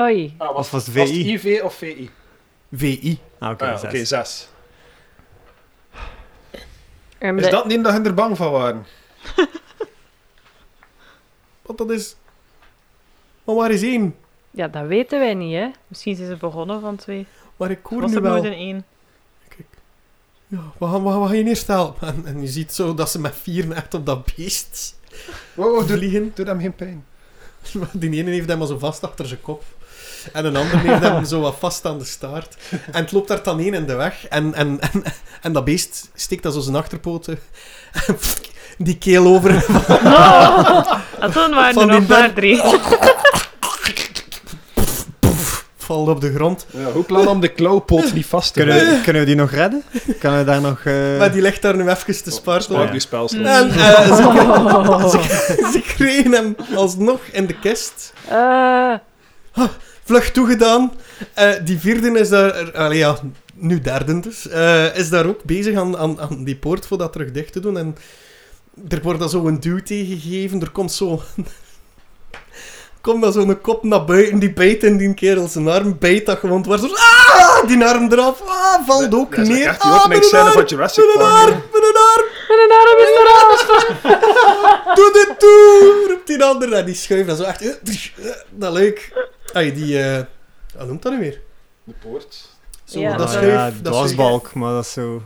Speaker 4: Oei.
Speaker 3: Ah,
Speaker 6: Of was het
Speaker 3: Was het
Speaker 6: VI?
Speaker 3: IV of VI?
Speaker 1: VI.
Speaker 6: Ah, oké,
Speaker 3: Ah, ja,
Speaker 6: zes.
Speaker 3: oké, 6.
Speaker 4: Um,
Speaker 3: Is
Speaker 4: de-
Speaker 3: dat niet dat hun er bang van waren?
Speaker 1: Want dat is... Maar waar is één?
Speaker 4: Ja, dat weten wij niet, hè?
Speaker 2: Misschien zijn ze begonnen van twee.
Speaker 1: Maar ik hoor
Speaker 2: Was
Speaker 1: nu
Speaker 2: er nooit
Speaker 1: wel...
Speaker 2: een één?
Speaker 1: Ja, we gaan, we gaan, we gaan je eerst helpen. En, en je ziet zo dat ze met vier echt op dat beest
Speaker 3: Wow, Oh, doe,
Speaker 1: vliegen.
Speaker 3: doe hem geen pijn.
Speaker 1: Maar Die ene heeft hem al zo vast achter zijn kop. En een ander heeft hem zo wat vast aan de staart. En het loopt daar dan één in de weg. En, en, en, en dat beest steekt dan zo zijn achterpoten. En die keel over.
Speaker 2: En Ah, toen waren
Speaker 1: Van
Speaker 2: er
Speaker 1: die
Speaker 2: nog
Speaker 1: ben-
Speaker 2: maar drie.
Speaker 1: Valt op de grond.
Speaker 3: Ja, hoe plan om de klauwpoot niet vast te
Speaker 6: Kunnen,
Speaker 3: houden?
Speaker 6: we- kunnen we die nog redden? Kunnen we daar nog... eh,
Speaker 1: Maar die ligt daar nu even te spartelen.
Speaker 3: Sprak die spelsel.
Speaker 2: Ja.
Speaker 1: En eh,
Speaker 2: Oh.
Speaker 1: ze, ze, ze kregen hem alsnog in de kist.
Speaker 4: Eh,
Speaker 1: Vlug toegedaan. Eh, die vierde is daar... er- Allee, ja, nu derde dus. eh, is daar ook bezig aan, aan, aan die poort voor dat terug dicht te doen. En er wordt dan zo een duw tegengegeven. Er komt zo... Komt dan zo'n kop naar buiten. Die bijt in die kerel zijn arm. Bijt dat gewoon. Waar zo... Ah! Die arm eraf. Ah! Valt ook
Speaker 3: Dat is
Speaker 1: neer.
Speaker 3: echt die
Speaker 1: Ah, met een
Speaker 3: openingsscène
Speaker 1: arm.
Speaker 3: van
Speaker 1: Met
Speaker 3: Jurassic
Speaker 1: een arm.
Speaker 3: Park.
Speaker 1: Met een arm.
Speaker 4: Met een arm is er af!
Speaker 1: Doe dit toe! Roept die ander en die schuift dan zo echt. eh, tsch, eh, Dat leuk. Ai, die. eh wat noemt dat nu weer?
Speaker 3: De poort.
Speaker 1: Zo,
Speaker 4: Ja,
Speaker 1: dat
Speaker 6: ah,
Speaker 1: schuif.
Speaker 6: ja,
Speaker 1: dat schuif.
Speaker 6: dwarsbalk, maar dat is zo...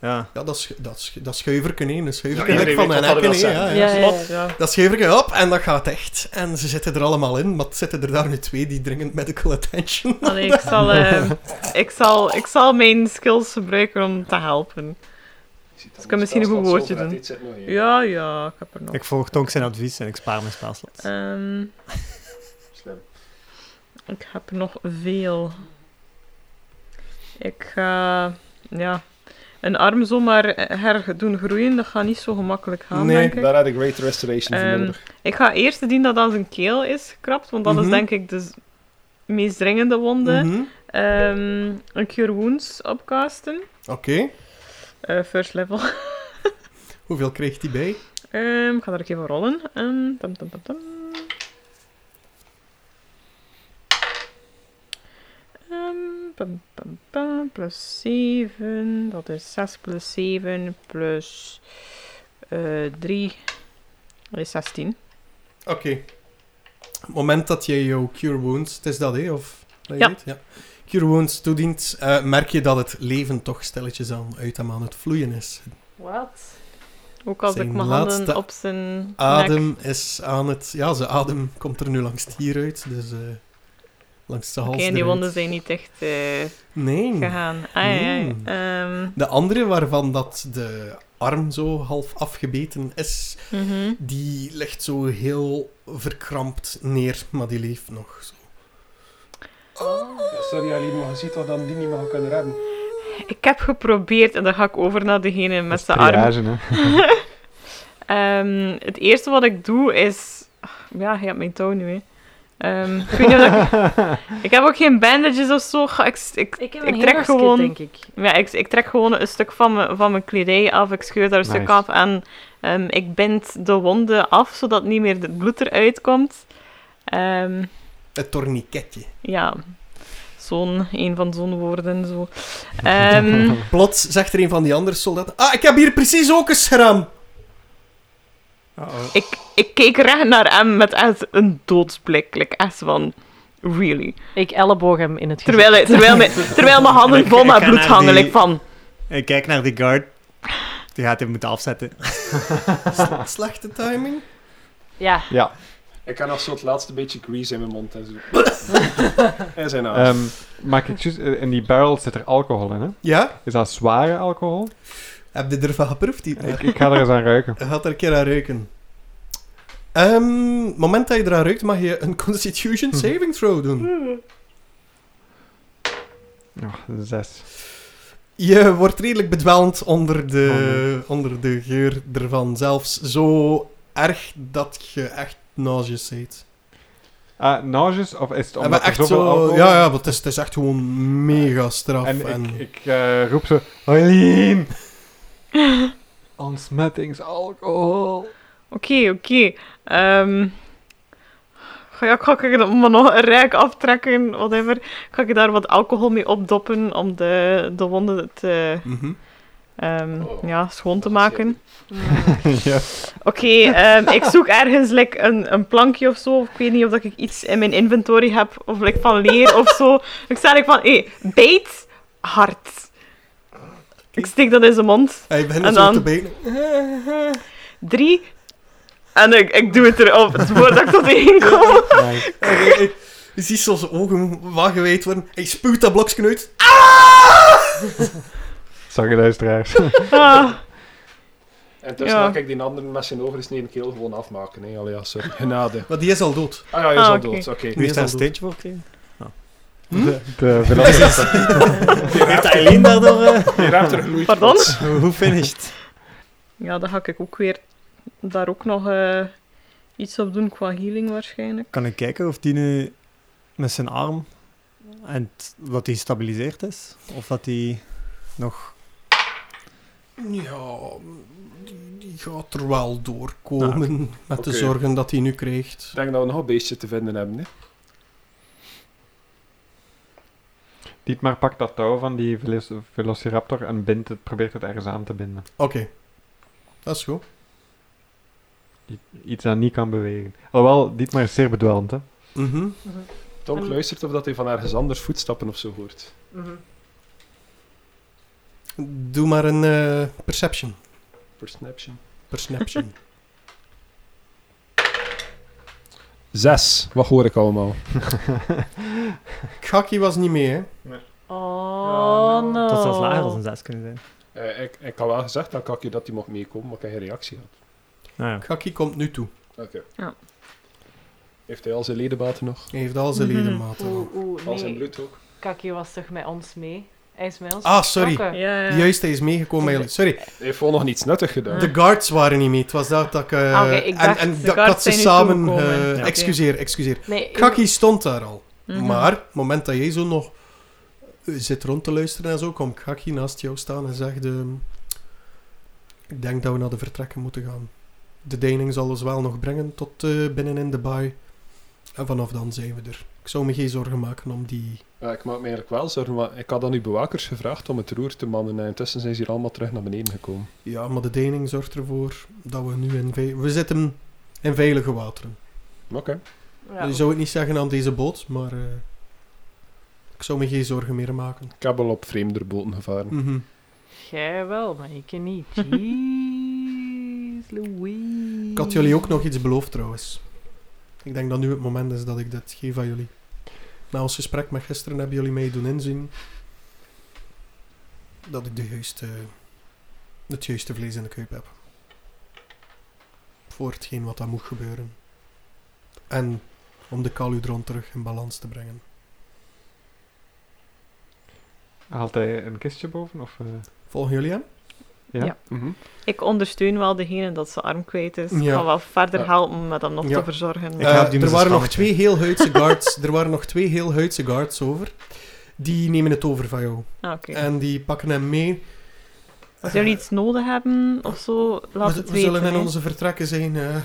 Speaker 6: Ja.
Speaker 1: Ja, dat, schu dat, schu dat schuiverken heen. Een
Speaker 3: Ja,
Speaker 1: schuiverken
Speaker 3: iedereen
Speaker 1: van
Speaker 3: weet
Speaker 1: mijn
Speaker 3: wat dat
Speaker 1: hekken
Speaker 3: wil
Speaker 1: heen. Ja,
Speaker 3: zeggen.
Speaker 1: ja.
Speaker 4: Ja, ja, ja.
Speaker 1: Dat schuiverken op en dat gaat echt. En ze zitten er allemaal in, maar het zitten er daar nu twee die dringend medical attention.
Speaker 2: Allee, ik zal, eh, ik, zal, ik zal mijn skills gebruiken om te helpen.
Speaker 3: Dus
Speaker 2: ik kan misschien een goed woordje doen. Ja, ja, ik heb er nog.
Speaker 6: Ik volg Tonk zijn advies en ik spaar mijn spelslots.
Speaker 2: Ehm,
Speaker 3: Slim.
Speaker 2: ik heb er nog veel. Ik ga... ja. Een arm zomaar her doen groeien, dat gaat niet zo gemakkelijk gaan,
Speaker 1: Nee,
Speaker 2: denk ik.
Speaker 3: Daar had ik Great Restoration voor
Speaker 2: Ehm,
Speaker 3: nodig.
Speaker 2: Ik ga eerst zien dat aan zijn keel is gekrapt, want dat
Speaker 1: Mhm.
Speaker 2: is denk ik de z- meest dringende wonde.
Speaker 1: Mhm.
Speaker 2: Ehm, een Cure Wounds opcasten.
Speaker 1: Oké.
Speaker 2: Eh, first level.
Speaker 1: Hoeveel kreeg die bij?
Speaker 2: Ehm, ik ga daar ook even rollen. Ehm, tam, tam, tam, tam. Ehm, pam, pam, pam, plus 7, dat is 6 plus 7 plus 3, dat is 16.
Speaker 1: Oké. Op het moment dat je jouw Cure Wounds, het is dat hè, of dat je
Speaker 2: Ja.
Speaker 1: weet? ja. Cure Wounds toedient, eh, merk je dat het leven toch stilletjes aan uit hem aan het vloeien is.
Speaker 4: Wat?
Speaker 2: Ook als
Speaker 1: Zijn
Speaker 2: ik mijn
Speaker 1: laatste
Speaker 2: handen op zijn
Speaker 1: Adem
Speaker 2: nek...
Speaker 1: is aan het, ja, zijn adem komt er nu langs het hier uit, dus eh, langs de
Speaker 2: Oké,
Speaker 1: hals.
Speaker 2: en die
Speaker 1: eruit.
Speaker 2: wonden zijn niet echt eh,
Speaker 1: Nee.
Speaker 2: gegaan. Ai, ai.
Speaker 1: Hmm.
Speaker 2: Ehm,
Speaker 1: De andere waarvan dat de arm zo half afgebeten is,
Speaker 2: mhm.
Speaker 1: die ligt zo heel verkrampt neer, maar die leeft nog. Zo.
Speaker 3: Sorry Aline, maar je ziet toch dan die niet meer kunnen redden.
Speaker 2: Ik heb geprobeerd, en dan ga ik over naar degene met zijn arm.
Speaker 5: triage, hè.
Speaker 2: Ehm, het eerste wat ik doe is. Ja, je hebt mijn touw nu, hè. Ehm, ik, weet niet of dat ik... ik heb ook geen bandages of zo. Ga- Ik, ik,
Speaker 4: Ik heb
Speaker 2: Ik
Speaker 4: een
Speaker 2: trek
Speaker 4: heel
Speaker 2: gewoon-
Speaker 4: denk ik.
Speaker 2: ja, ik, ik trek gewoon een stuk van mijn, van mijn kledij af. Ik scheur daar een stuk
Speaker 5: Nice.
Speaker 2: af en ehm, ik bind de wonden af, zodat niet meer het bloed eruit komt. Ehm,
Speaker 1: Het torniketje.
Speaker 2: ja, zo'n, een van zo'n woorden. Zo. Ehm,
Speaker 1: Plots zegt er een van die andere soldaten: Ah, ik heb hier precies ook een schram.
Speaker 2: ik, ik keek recht naar hem met echt een doodsblik. Like, echt van, really?
Speaker 4: Ik elleboog hem in het gezicht.
Speaker 2: Terwijl, hij- terwijl, mijn, terwijl mijn handen
Speaker 6: Ik-
Speaker 2: vol
Speaker 6: ik
Speaker 2: met
Speaker 6: ga
Speaker 2: bloed
Speaker 6: naar
Speaker 2: hangen.
Speaker 6: die-
Speaker 2: like van,
Speaker 6: Ik kijk naar die guard. Die gaat hem moeten afzetten.
Speaker 1: Slechte timing.
Speaker 4: Ja,
Speaker 5: Ja.
Speaker 3: Ik kan nog zo het laatste beetje grease in mijn mond en zo. en zijn
Speaker 6: Oh.
Speaker 3: naam.
Speaker 5: Ehm maar ik juist, eh, in die barrel zit er alcohol in, hè?
Speaker 1: Ja?
Speaker 5: Is dat zware alcohol?
Speaker 1: Heb je ervan geproefd? Die...
Speaker 5: Ik, ik ga er eens aan ruiken.
Speaker 1: Je gaat er een keer aan ruiken. Ehm, het moment dat je eraan ruikt, mag je een
Speaker 5: Mhm.
Speaker 1: Constitution Saving Throw doen.
Speaker 5: Oh, zes.
Speaker 1: Je wordt redelijk bedwelmd onder
Speaker 5: Oh,
Speaker 1: de, onder de geur ervan. Zelfs zo erg dat je echt nauseous bent.
Speaker 5: Ah, nauseous? Of is het
Speaker 1: En we
Speaker 5: omdat er
Speaker 1: echt
Speaker 5: zoveel
Speaker 1: zo,
Speaker 5: alcohol...
Speaker 1: ja, ja, want het is, het is echt gewoon mega straf.
Speaker 5: En,
Speaker 1: En
Speaker 5: ik, ik eh, roep ze... Aileen! Ontsmettingsalcohol.
Speaker 2: oké, oké. Ehm, ga ja, ik ga ik dat maar nog een rijk aftrekken, whatever. Ga ik daar wat alcohol mee opdoppen om de, de wonden te,
Speaker 1: Mhm.
Speaker 2: ehm,
Speaker 3: Oh,
Speaker 2: ja, schoon te maken.
Speaker 5: ja.
Speaker 2: Oké, ehm, ik zoek ergens like, een, een plankje of zo. Of ik weet niet of dat ik iets in mijn inventory heb. Of like, van leer of zo. Ik sta like, van, hé, bijt hard. Ik steek dat in zijn mond.
Speaker 1: En je begint
Speaker 2: En
Speaker 1: zo
Speaker 2: dan-
Speaker 1: te bijten.
Speaker 2: Drie En ik, ik doe het erop, het woord dat ik tot één kom.
Speaker 5: Nice.
Speaker 1: Ik- ik- Je ziet zo zijn ogen wagenwijd worden. Hij spuwt dat blokje uit.
Speaker 5: Sorry, luisteraars.
Speaker 2: Ah,
Speaker 3: En tussen
Speaker 2: Ja.
Speaker 3: ja. ik die andere met zijn overgesneden keel gewoon afmaken. Hè. Allee, ja, sorry. Genade.
Speaker 1: Maar die is al dood.
Speaker 3: Ah ja, je is
Speaker 2: Ah,
Speaker 3: al
Speaker 2: oké.
Speaker 3: dood. Oké.
Speaker 6: Wie heeft daar een
Speaker 1: Dood.
Speaker 6: steentje voor gekregen?
Speaker 1: Hm?
Speaker 5: De velociraptor.
Speaker 6: Heeft Eileen eh, daardoor... eh,
Speaker 3: Je hebt er gloeit.
Speaker 2: pardon?
Speaker 6: hoe- Hoe finished?
Speaker 2: Ja, dan ga ik ook weer daar ook nog eh, iets op doen qua healing waarschijnlijk.
Speaker 6: Kan ik kijken of die nu met zijn arm... En t- dat hij gestabiliseerd is? Of dat hij nog...
Speaker 1: Ja, die gaat er wel doorkomen.
Speaker 6: Ah, oké.
Speaker 1: Met de
Speaker 3: Oké.
Speaker 1: zorgen dat hij nu krijgt.
Speaker 3: Ik denk dat we nog een beestje te vinden hebben. Hè.
Speaker 5: Dietmar pakt dat touw van die velo- velociraptor en bindt het, probeert het ergens aan te binden.
Speaker 1: Oké. Dat is goed.
Speaker 5: I- Iets dat niet kan bewegen. Alhoewel, Dietmar is zeer bedwelmd, hè.
Speaker 1: Mhm.
Speaker 3: Tonk
Speaker 4: En-
Speaker 3: luistert of dat hij van ergens anders voetstappen of zo hoort.
Speaker 4: Mhm.
Speaker 1: Doe maar een eh, perception.
Speaker 3: Perception.
Speaker 1: Perception.
Speaker 3: Zes. Wat hoor ik allemaal?
Speaker 1: Kaki was niet mee, hè?
Speaker 2: nou.
Speaker 4: Oh, no.
Speaker 6: Dat zou lager dan een 6 kunnen zijn.
Speaker 3: Eh, ik, ik had wel gezegd aan Kakje dat hij mocht meekomen, maar ik heb geen reactie gehad.
Speaker 6: Nou ja.
Speaker 1: Kaki komt nu toe.
Speaker 3: Heeft hij al zijn ledematen nog?
Speaker 1: Hij heeft al zijn
Speaker 2: Mhm.
Speaker 1: ledematen. al.
Speaker 4: Oeh, oeh,
Speaker 3: Al zijn
Speaker 4: nee.
Speaker 3: bloed ook?
Speaker 4: Kaki was toch met ons mee? Hij is met ons
Speaker 1: Ah, sorry.
Speaker 4: vertrokken.
Speaker 2: Ja, ja.
Speaker 1: Juist, hij is meegekomen bij jullie. Sorry,
Speaker 3: Hij heeft gewoon nog niets nuttig gedaan.
Speaker 1: de guards waren niet mee. Het was dat dat ik... eh,
Speaker 4: Ah, oké, ik dacht,
Speaker 1: en
Speaker 2: de
Speaker 1: en dat,
Speaker 2: guards
Speaker 1: dat ze
Speaker 2: zijn niet
Speaker 1: samen...
Speaker 2: toegekomen.
Speaker 1: eh,
Speaker 6: Ja.
Speaker 1: Excuseer, excuseer.
Speaker 4: Nee, ik-
Speaker 1: Kaki stond daar al.
Speaker 2: Mhm.
Speaker 1: Maar, het moment dat jij zo nog eh, zit rond te luisteren en zo, komt Kaki naast jou staan en zegt... ehm, ik denk dat we naar de vertrekken moeten gaan. De deining zal ons wel nog brengen tot eh, binnen in de baai. En vanaf dan zijn we er. Ik zou me geen zorgen maken om die...
Speaker 3: Ja, ik maak me eigenlijk wel zorgen, want ik had aan uw bewakers gevraagd om het roer te mannen en intussen zijn ze hier allemaal terug naar beneden gekomen.
Speaker 1: Ja, maar de deining zorgt ervoor dat we nu in... ve- We zitten in veilige wateren.
Speaker 3: Oké.
Speaker 4: Ja,
Speaker 1: Je zou het niet zeggen aan deze boot, maar... eh, ik zou me geen zorgen meer maken.
Speaker 3: Ik heb al op vreemder boten gevaren.
Speaker 1: Mhm.
Speaker 4: Jij wel, maar ik niet. Jeez, Louis.
Speaker 1: Ik had jullie ook nog iets beloofd trouwens. Ik denk dat nu het moment is dat ik dit geef aan jullie. Na ons gesprek met gisteren hebben jullie mij doen inzien dat ik de juiste, het juiste vlees in de kuip heb. Voor hetgeen wat daar moet gebeuren. En om de kaludron terug in balans te brengen.
Speaker 5: Haalt hij een kistje boven? Of, eh,
Speaker 1: Volgen jullie hem?
Speaker 3: Mhm.
Speaker 2: Ik ondersteun wel degene dat zijn arm kwijt is. Ik
Speaker 1: Ja.
Speaker 2: kan wel verder
Speaker 3: Ja.
Speaker 2: helpen met hem nog
Speaker 1: Ja.
Speaker 2: te verzorgen.
Speaker 6: Ik help
Speaker 1: Eh,
Speaker 6: die met
Speaker 1: er
Speaker 6: zijn
Speaker 1: waren nog
Speaker 6: spannetje.
Speaker 1: twee heel huidse guards. er waren nog twee heel huidse guards over. Die nemen het over van jou.
Speaker 2: Ah, oké.
Speaker 1: En die pakken hem mee
Speaker 2: Als jullie iets nodig hebben of zo, laat
Speaker 1: we,
Speaker 2: het
Speaker 1: we
Speaker 2: weten.
Speaker 1: zullen in
Speaker 2: hè.
Speaker 1: onze vertrekken zijn. eh,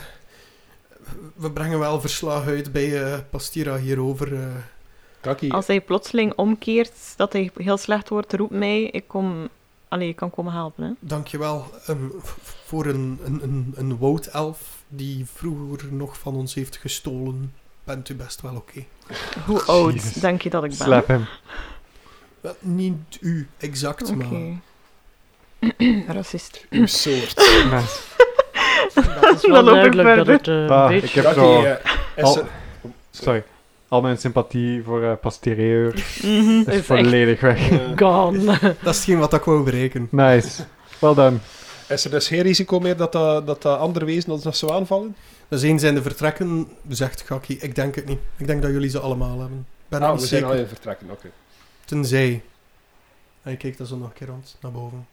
Speaker 1: we brengen wel verslag uit bij eh, Pastira hierover. eh.
Speaker 3: Kaki,
Speaker 2: Als hij plotseling omkeert, dat hij heel slecht wordt, roep mij. Ik kom... Allee, ik kan komen helpen, hè.
Speaker 1: dankjewel ehm, v- voor een, een, een, een woudelf die vroeger nog van ons heeft gestolen. Bent u best wel oké?
Speaker 2: Hoe oud
Speaker 5: Jezus.
Speaker 2: denk je dat ik ben?
Speaker 5: slap hem.
Speaker 1: Wel, Niet u exact,
Speaker 2: Oké.
Speaker 1: maar...
Speaker 2: Racist.
Speaker 3: uw soort.
Speaker 5: Nice.
Speaker 4: Dat is wel
Speaker 2: Dan loop ik
Speaker 4: duidelijk dat
Speaker 2: verder.
Speaker 4: het eh,
Speaker 5: Ah,
Speaker 4: dit-
Speaker 5: ik heb
Speaker 3: Kaki,
Speaker 5: zo...
Speaker 3: eh, is
Speaker 5: al-
Speaker 3: er-
Speaker 5: Sorry. Al mijn sympathie voor eh Pastireur
Speaker 2: Mhm.
Speaker 5: is
Speaker 4: echt-
Speaker 5: volledig weg.
Speaker 3: eh,
Speaker 4: Gone.
Speaker 1: Dat is hetgeen wat ik wou bereiken.
Speaker 5: Nice. Well done.
Speaker 3: is er dus geen risico meer dat dat, dat dat andere wezen ons nog zou aanvallen?
Speaker 1: Dus eens zijn de vertrekken, zegt Gaki. Ik denk het niet. Ik denk dat jullie ze allemaal hebben. Ik ben er
Speaker 3: Ah,
Speaker 1: niet
Speaker 3: we zijn
Speaker 1: zeker.
Speaker 3: al in vertrekken, oké.
Speaker 1: Tenzij... Hij kijkt dan zo nog een keer rond, naar boven.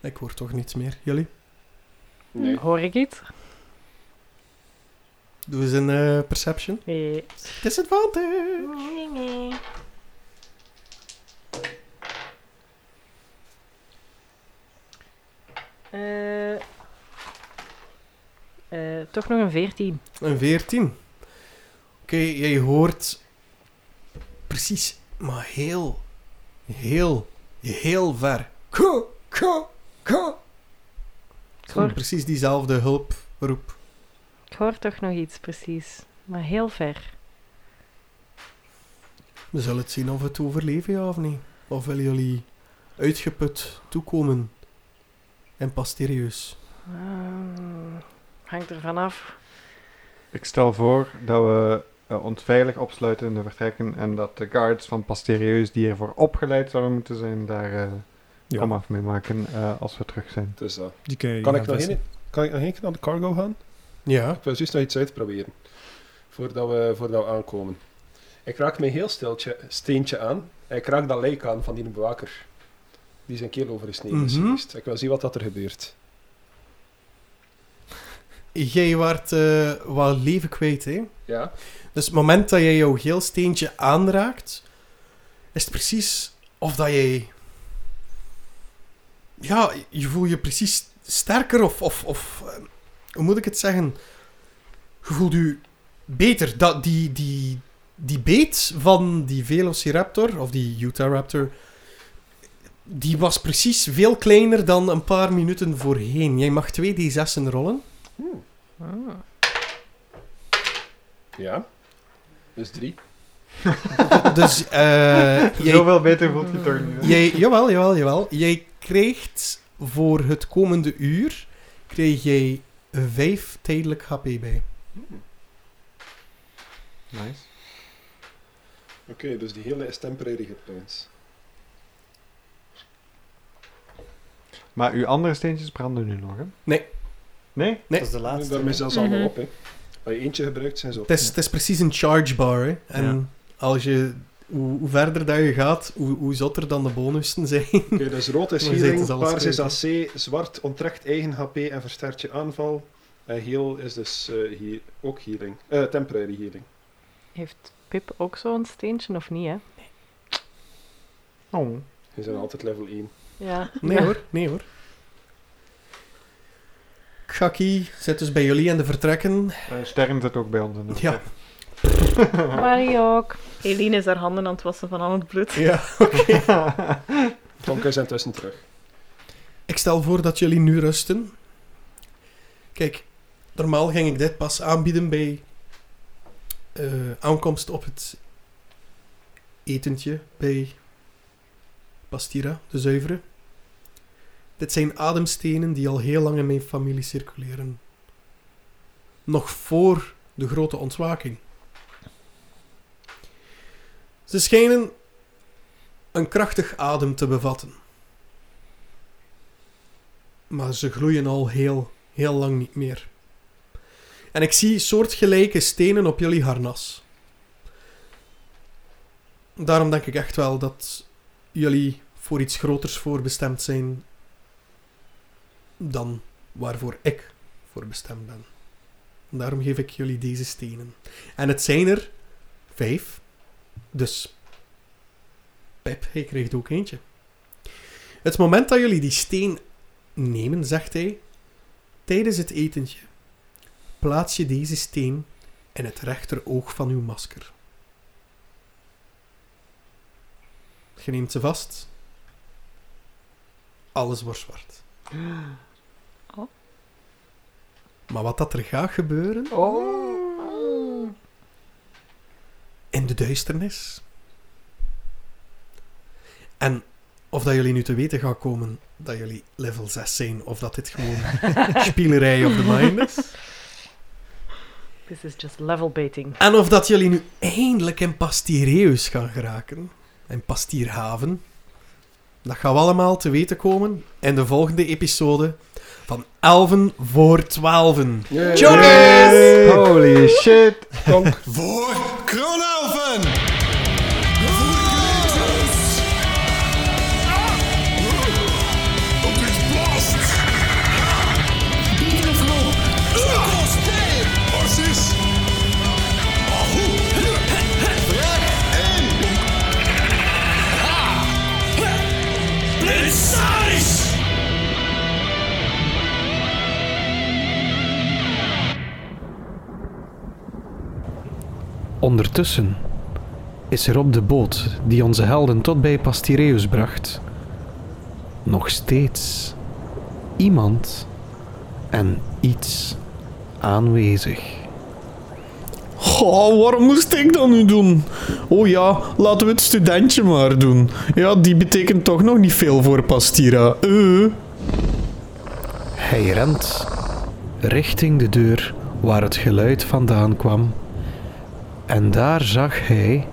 Speaker 1: Ik hoor toch niets meer. Jullie?
Speaker 3: Nee.
Speaker 4: Hoor ik iets?
Speaker 1: Doe eens een eh, perception.
Speaker 4: Nee.
Speaker 1: Disadvantage!
Speaker 4: Eh, eh, toch nog een 14.
Speaker 1: Een 14. Oké, jij hoort... Precies, maar heel... Heel, heel ver. Ko, ko, ko.
Speaker 4: Ik hoor,
Speaker 1: Precies diezelfde hulproep.
Speaker 4: ik hoor toch nog iets, precies. Maar heel ver.
Speaker 1: We zullen het zien of we het overleven, ja of niet. Of willen jullie uitgeput toekomen? En pas serieus.
Speaker 4: Ehm, hangt er vanaf.
Speaker 5: Ik stel voor dat we eh, ons veilig opsluiten in de vertrekken en dat de guards van Pasterieus die ervoor opgeleid zouden moeten zijn, daar eh
Speaker 6: Ja.
Speaker 5: kom af mee maken eh, als we terug zijn.
Speaker 3: Dus dat.
Speaker 6: Die kun je
Speaker 3: Kan
Speaker 6: gaan
Speaker 3: ik, nog
Speaker 6: vissen.
Speaker 3: één, kan ik nog één keer naar de cargo gaan?
Speaker 1: Ja.
Speaker 3: Ik wil juist nog iets uitproberen. Voordat we, voordat we aankomen. Ik raak mijn heel stiltje, steentje aan. En ik raak dat lijk aan van die bewaker. Die zijn keel overgesneden is
Speaker 1: Mhm.
Speaker 3: geweest. Ik wil zien wat dat er gebeurt.
Speaker 1: Jij waart eh wel leven kwijt, hè?
Speaker 3: Ja.
Speaker 1: Dus het moment dat jij jouw geel steentje aanraakt, is het precies of dat jij... Ja, je voelt je precies sterker of... of, of eh, hoe moet ik het zeggen? Je voelt je beter. Dat, die, die, die beet van die Velociraptor, of die Utah Raptor, die was precies veel kleiner dan een paar minuten voorheen. Jij mag twee D6'en rollen.
Speaker 3: Hmm.
Speaker 4: Ah,
Speaker 3: Ja. Dus drie.
Speaker 1: Dus eh jij
Speaker 5: Zoveel beter voelt je toch niet. hè?
Speaker 1: Jij, jawel, jawel, jawel. Jij krijgt voor het komende uur kreeg jij 5 tijdelijk HP bij.
Speaker 3: Hmm.
Speaker 5: Nice.
Speaker 3: Oké, dus die hele is temporary gepland.
Speaker 5: Maar uw andere steentjes branden nu nog, hè?
Speaker 1: Nee.
Speaker 5: Nee?
Speaker 1: Nee.
Speaker 6: Dat is de laatste.
Speaker 3: Daarmee zijn ze
Speaker 2: Mhm.
Speaker 3: allemaal op, hè. Als je eentje gebruikt, zijn ze op.
Speaker 1: Het is, het is precies een charge bar. Hè? En als je, hoe, hoe verder dat je gaat, hoe, hoe zotter dan de bonussen zijn.
Speaker 3: Oké, dus rood is
Speaker 1: Maar je zegt
Speaker 3: healing,
Speaker 1: dus alles
Speaker 3: paars is AC, zwart onttrekt eigen HP en versterkt je aanval. En geel is dus eh, hier ook healing. Eh, temporary healing.
Speaker 4: Heeft Pip ook zo'n steentje of niet, hè?
Speaker 5: Oh.
Speaker 3: Je zijn altijd level 1.
Speaker 4: Ja.
Speaker 1: Nee hoor, nee hoor. Kaki zit dus bij jullie aan de vertrekken.
Speaker 5: Eh, Stern zit ook bij ons in de
Speaker 1: Ja.
Speaker 4: Marie ook.
Speaker 2: Eline is haar handen aan het wassen van al het bloed.
Speaker 1: ja.
Speaker 3: Tonka is intussen terug.
Speaker 1: Ik stel voor dat jullie nu rusten. Kijk, normaal ging ik dit pas aanbieden bij eh, aankomst op het etentje bij Pastira, de zuivere. Dit zijn ademstenen die al heel lang in mijn familie circuleren. Nog voor de grote ontwaking. Ze schijnen een krachtig adem te bevatten. Maar ze gloeien al heel, heel lang niet meer. En ik zie soortgelijke stenen op jullie harnas. Daarom denk ik echt wel dat jullie voor iets groters voorbestemd zijn dan waarvoor ik voorbestemd ben. Daarom geef ik jullie deze stenen. En het zijn er vijf. Dus Pep, hij kreeg er ook eentje. Het moment dat jullie die steen nemen, zegt hij. Tijdens het etentje plaats je deze steen in het rechteroog van uw masker. Je neemt ze vast. Alles wordt zwart.
Speaker 2: Oh.
Speaker 1: Maar wat dat er gaat gebeuren
Speaker 4: Oh.
Speaker 1: in de duisternis. En of dat jullie nu te weten gaan komen dat jullie level 6 zijn, of dat dit gewoon spielerij of the mind is.
Speaker 4: This is just level baiting.
Speaker 1: En of dat jullie nu eindelijk in Pastireus gaan geraken. In Pastierhaven. Dat gaan we allemaal te weten komen in de volgende episode van Elven voor Twaalfen.
Speaker 5: Hey, Holy shit!
Speaker 7: Voor Kronelven! Blitzaris!
Speaker 8: Ondertussen is er op de boot die onze helden tot bij Pastireus bracht nog steeds iemand en iets aanwezig.
Speaker 9: Goh, waarom moest ik dat nu doen? Oh ja, laten we het studentje maar doen. Ja, die betekent toch nog niet veel voor Pastira. Eh.
Speaker 8: Hij rent richting de deur waar het geluid vandaan kwam. En daar zag hij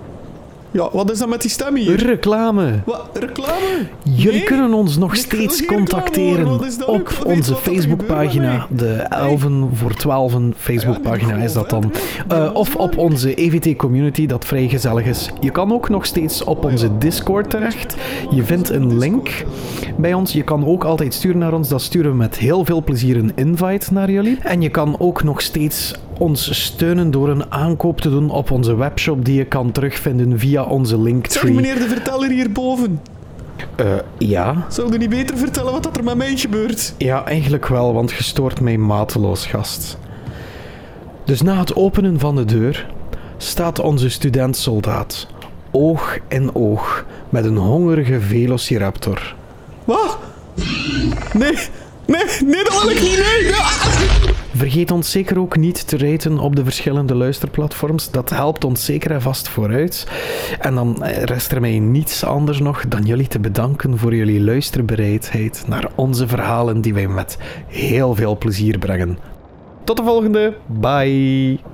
Speaker 9: Ja, wat is dat met die stem hier?
Speaker 8: reclame.
Speaker 9: Wat, reclame?
Speaker 8: Jullie
Speaker 9: Nee,
Speaker 8: kunnen ons nog
Speaker 9: ik wil
Speaker 8: steeds
Speaker 9: geen reclame horen,
Speaker 8: contacteren
Speaker 9: wat is dat? Ik
Speaker 8: op
Speaker 9: wil weten
Speaker 8: onze
Speaker 9: wat er gebeurt met
Speaker 8: Facebookpagina.
Speaker 9: mij.
Speaker 8: De Elven voor 12 Facebookpagina is dat dan. Eh, of op onze EVT community, dat vrij gezellig is. Je kan ook nog steeds op onze Discord terecht. Je vindt een link bij ons. Je kan ook altijd sturen naar ons. Dat sturen we met heel veel plezier een invite naar jullie. En je kan ook nog steeds ons steunen door een aankoop te doen op onze webshop, die je kan terugvinden via onze
Speaker 9: Zeg
Speaker 8: linktree.
Speaker 9: meneer de verteller hierboven.
Speaker 8: Eh, ja.
Speaker 9: Zou je niet beter vertellen wat dat er met mij gebeurt?
Speaker 8: Ja, eigenlijk wel, want je stoort mij mateloos, gast. Dus na het openen van de deur staat onze student-soldaat, oog in oog, met een hongerige velociraptor.
Speaker 9: Wat? Nee, nee, nee, dat wil ik niet, nee. nee.
Speaker 8: Vergeet ons zeker ook niet te raten op de verschillende luisterplatforms. Dat helpt ons zeker en vast vooruit. En dan eh, rest er mij niets anders nog dan jullie te bedanken voor jullie luisterbereidheid naar onze verhalen die wij met heel veel plezier brengen. Tot de volgende. Bye.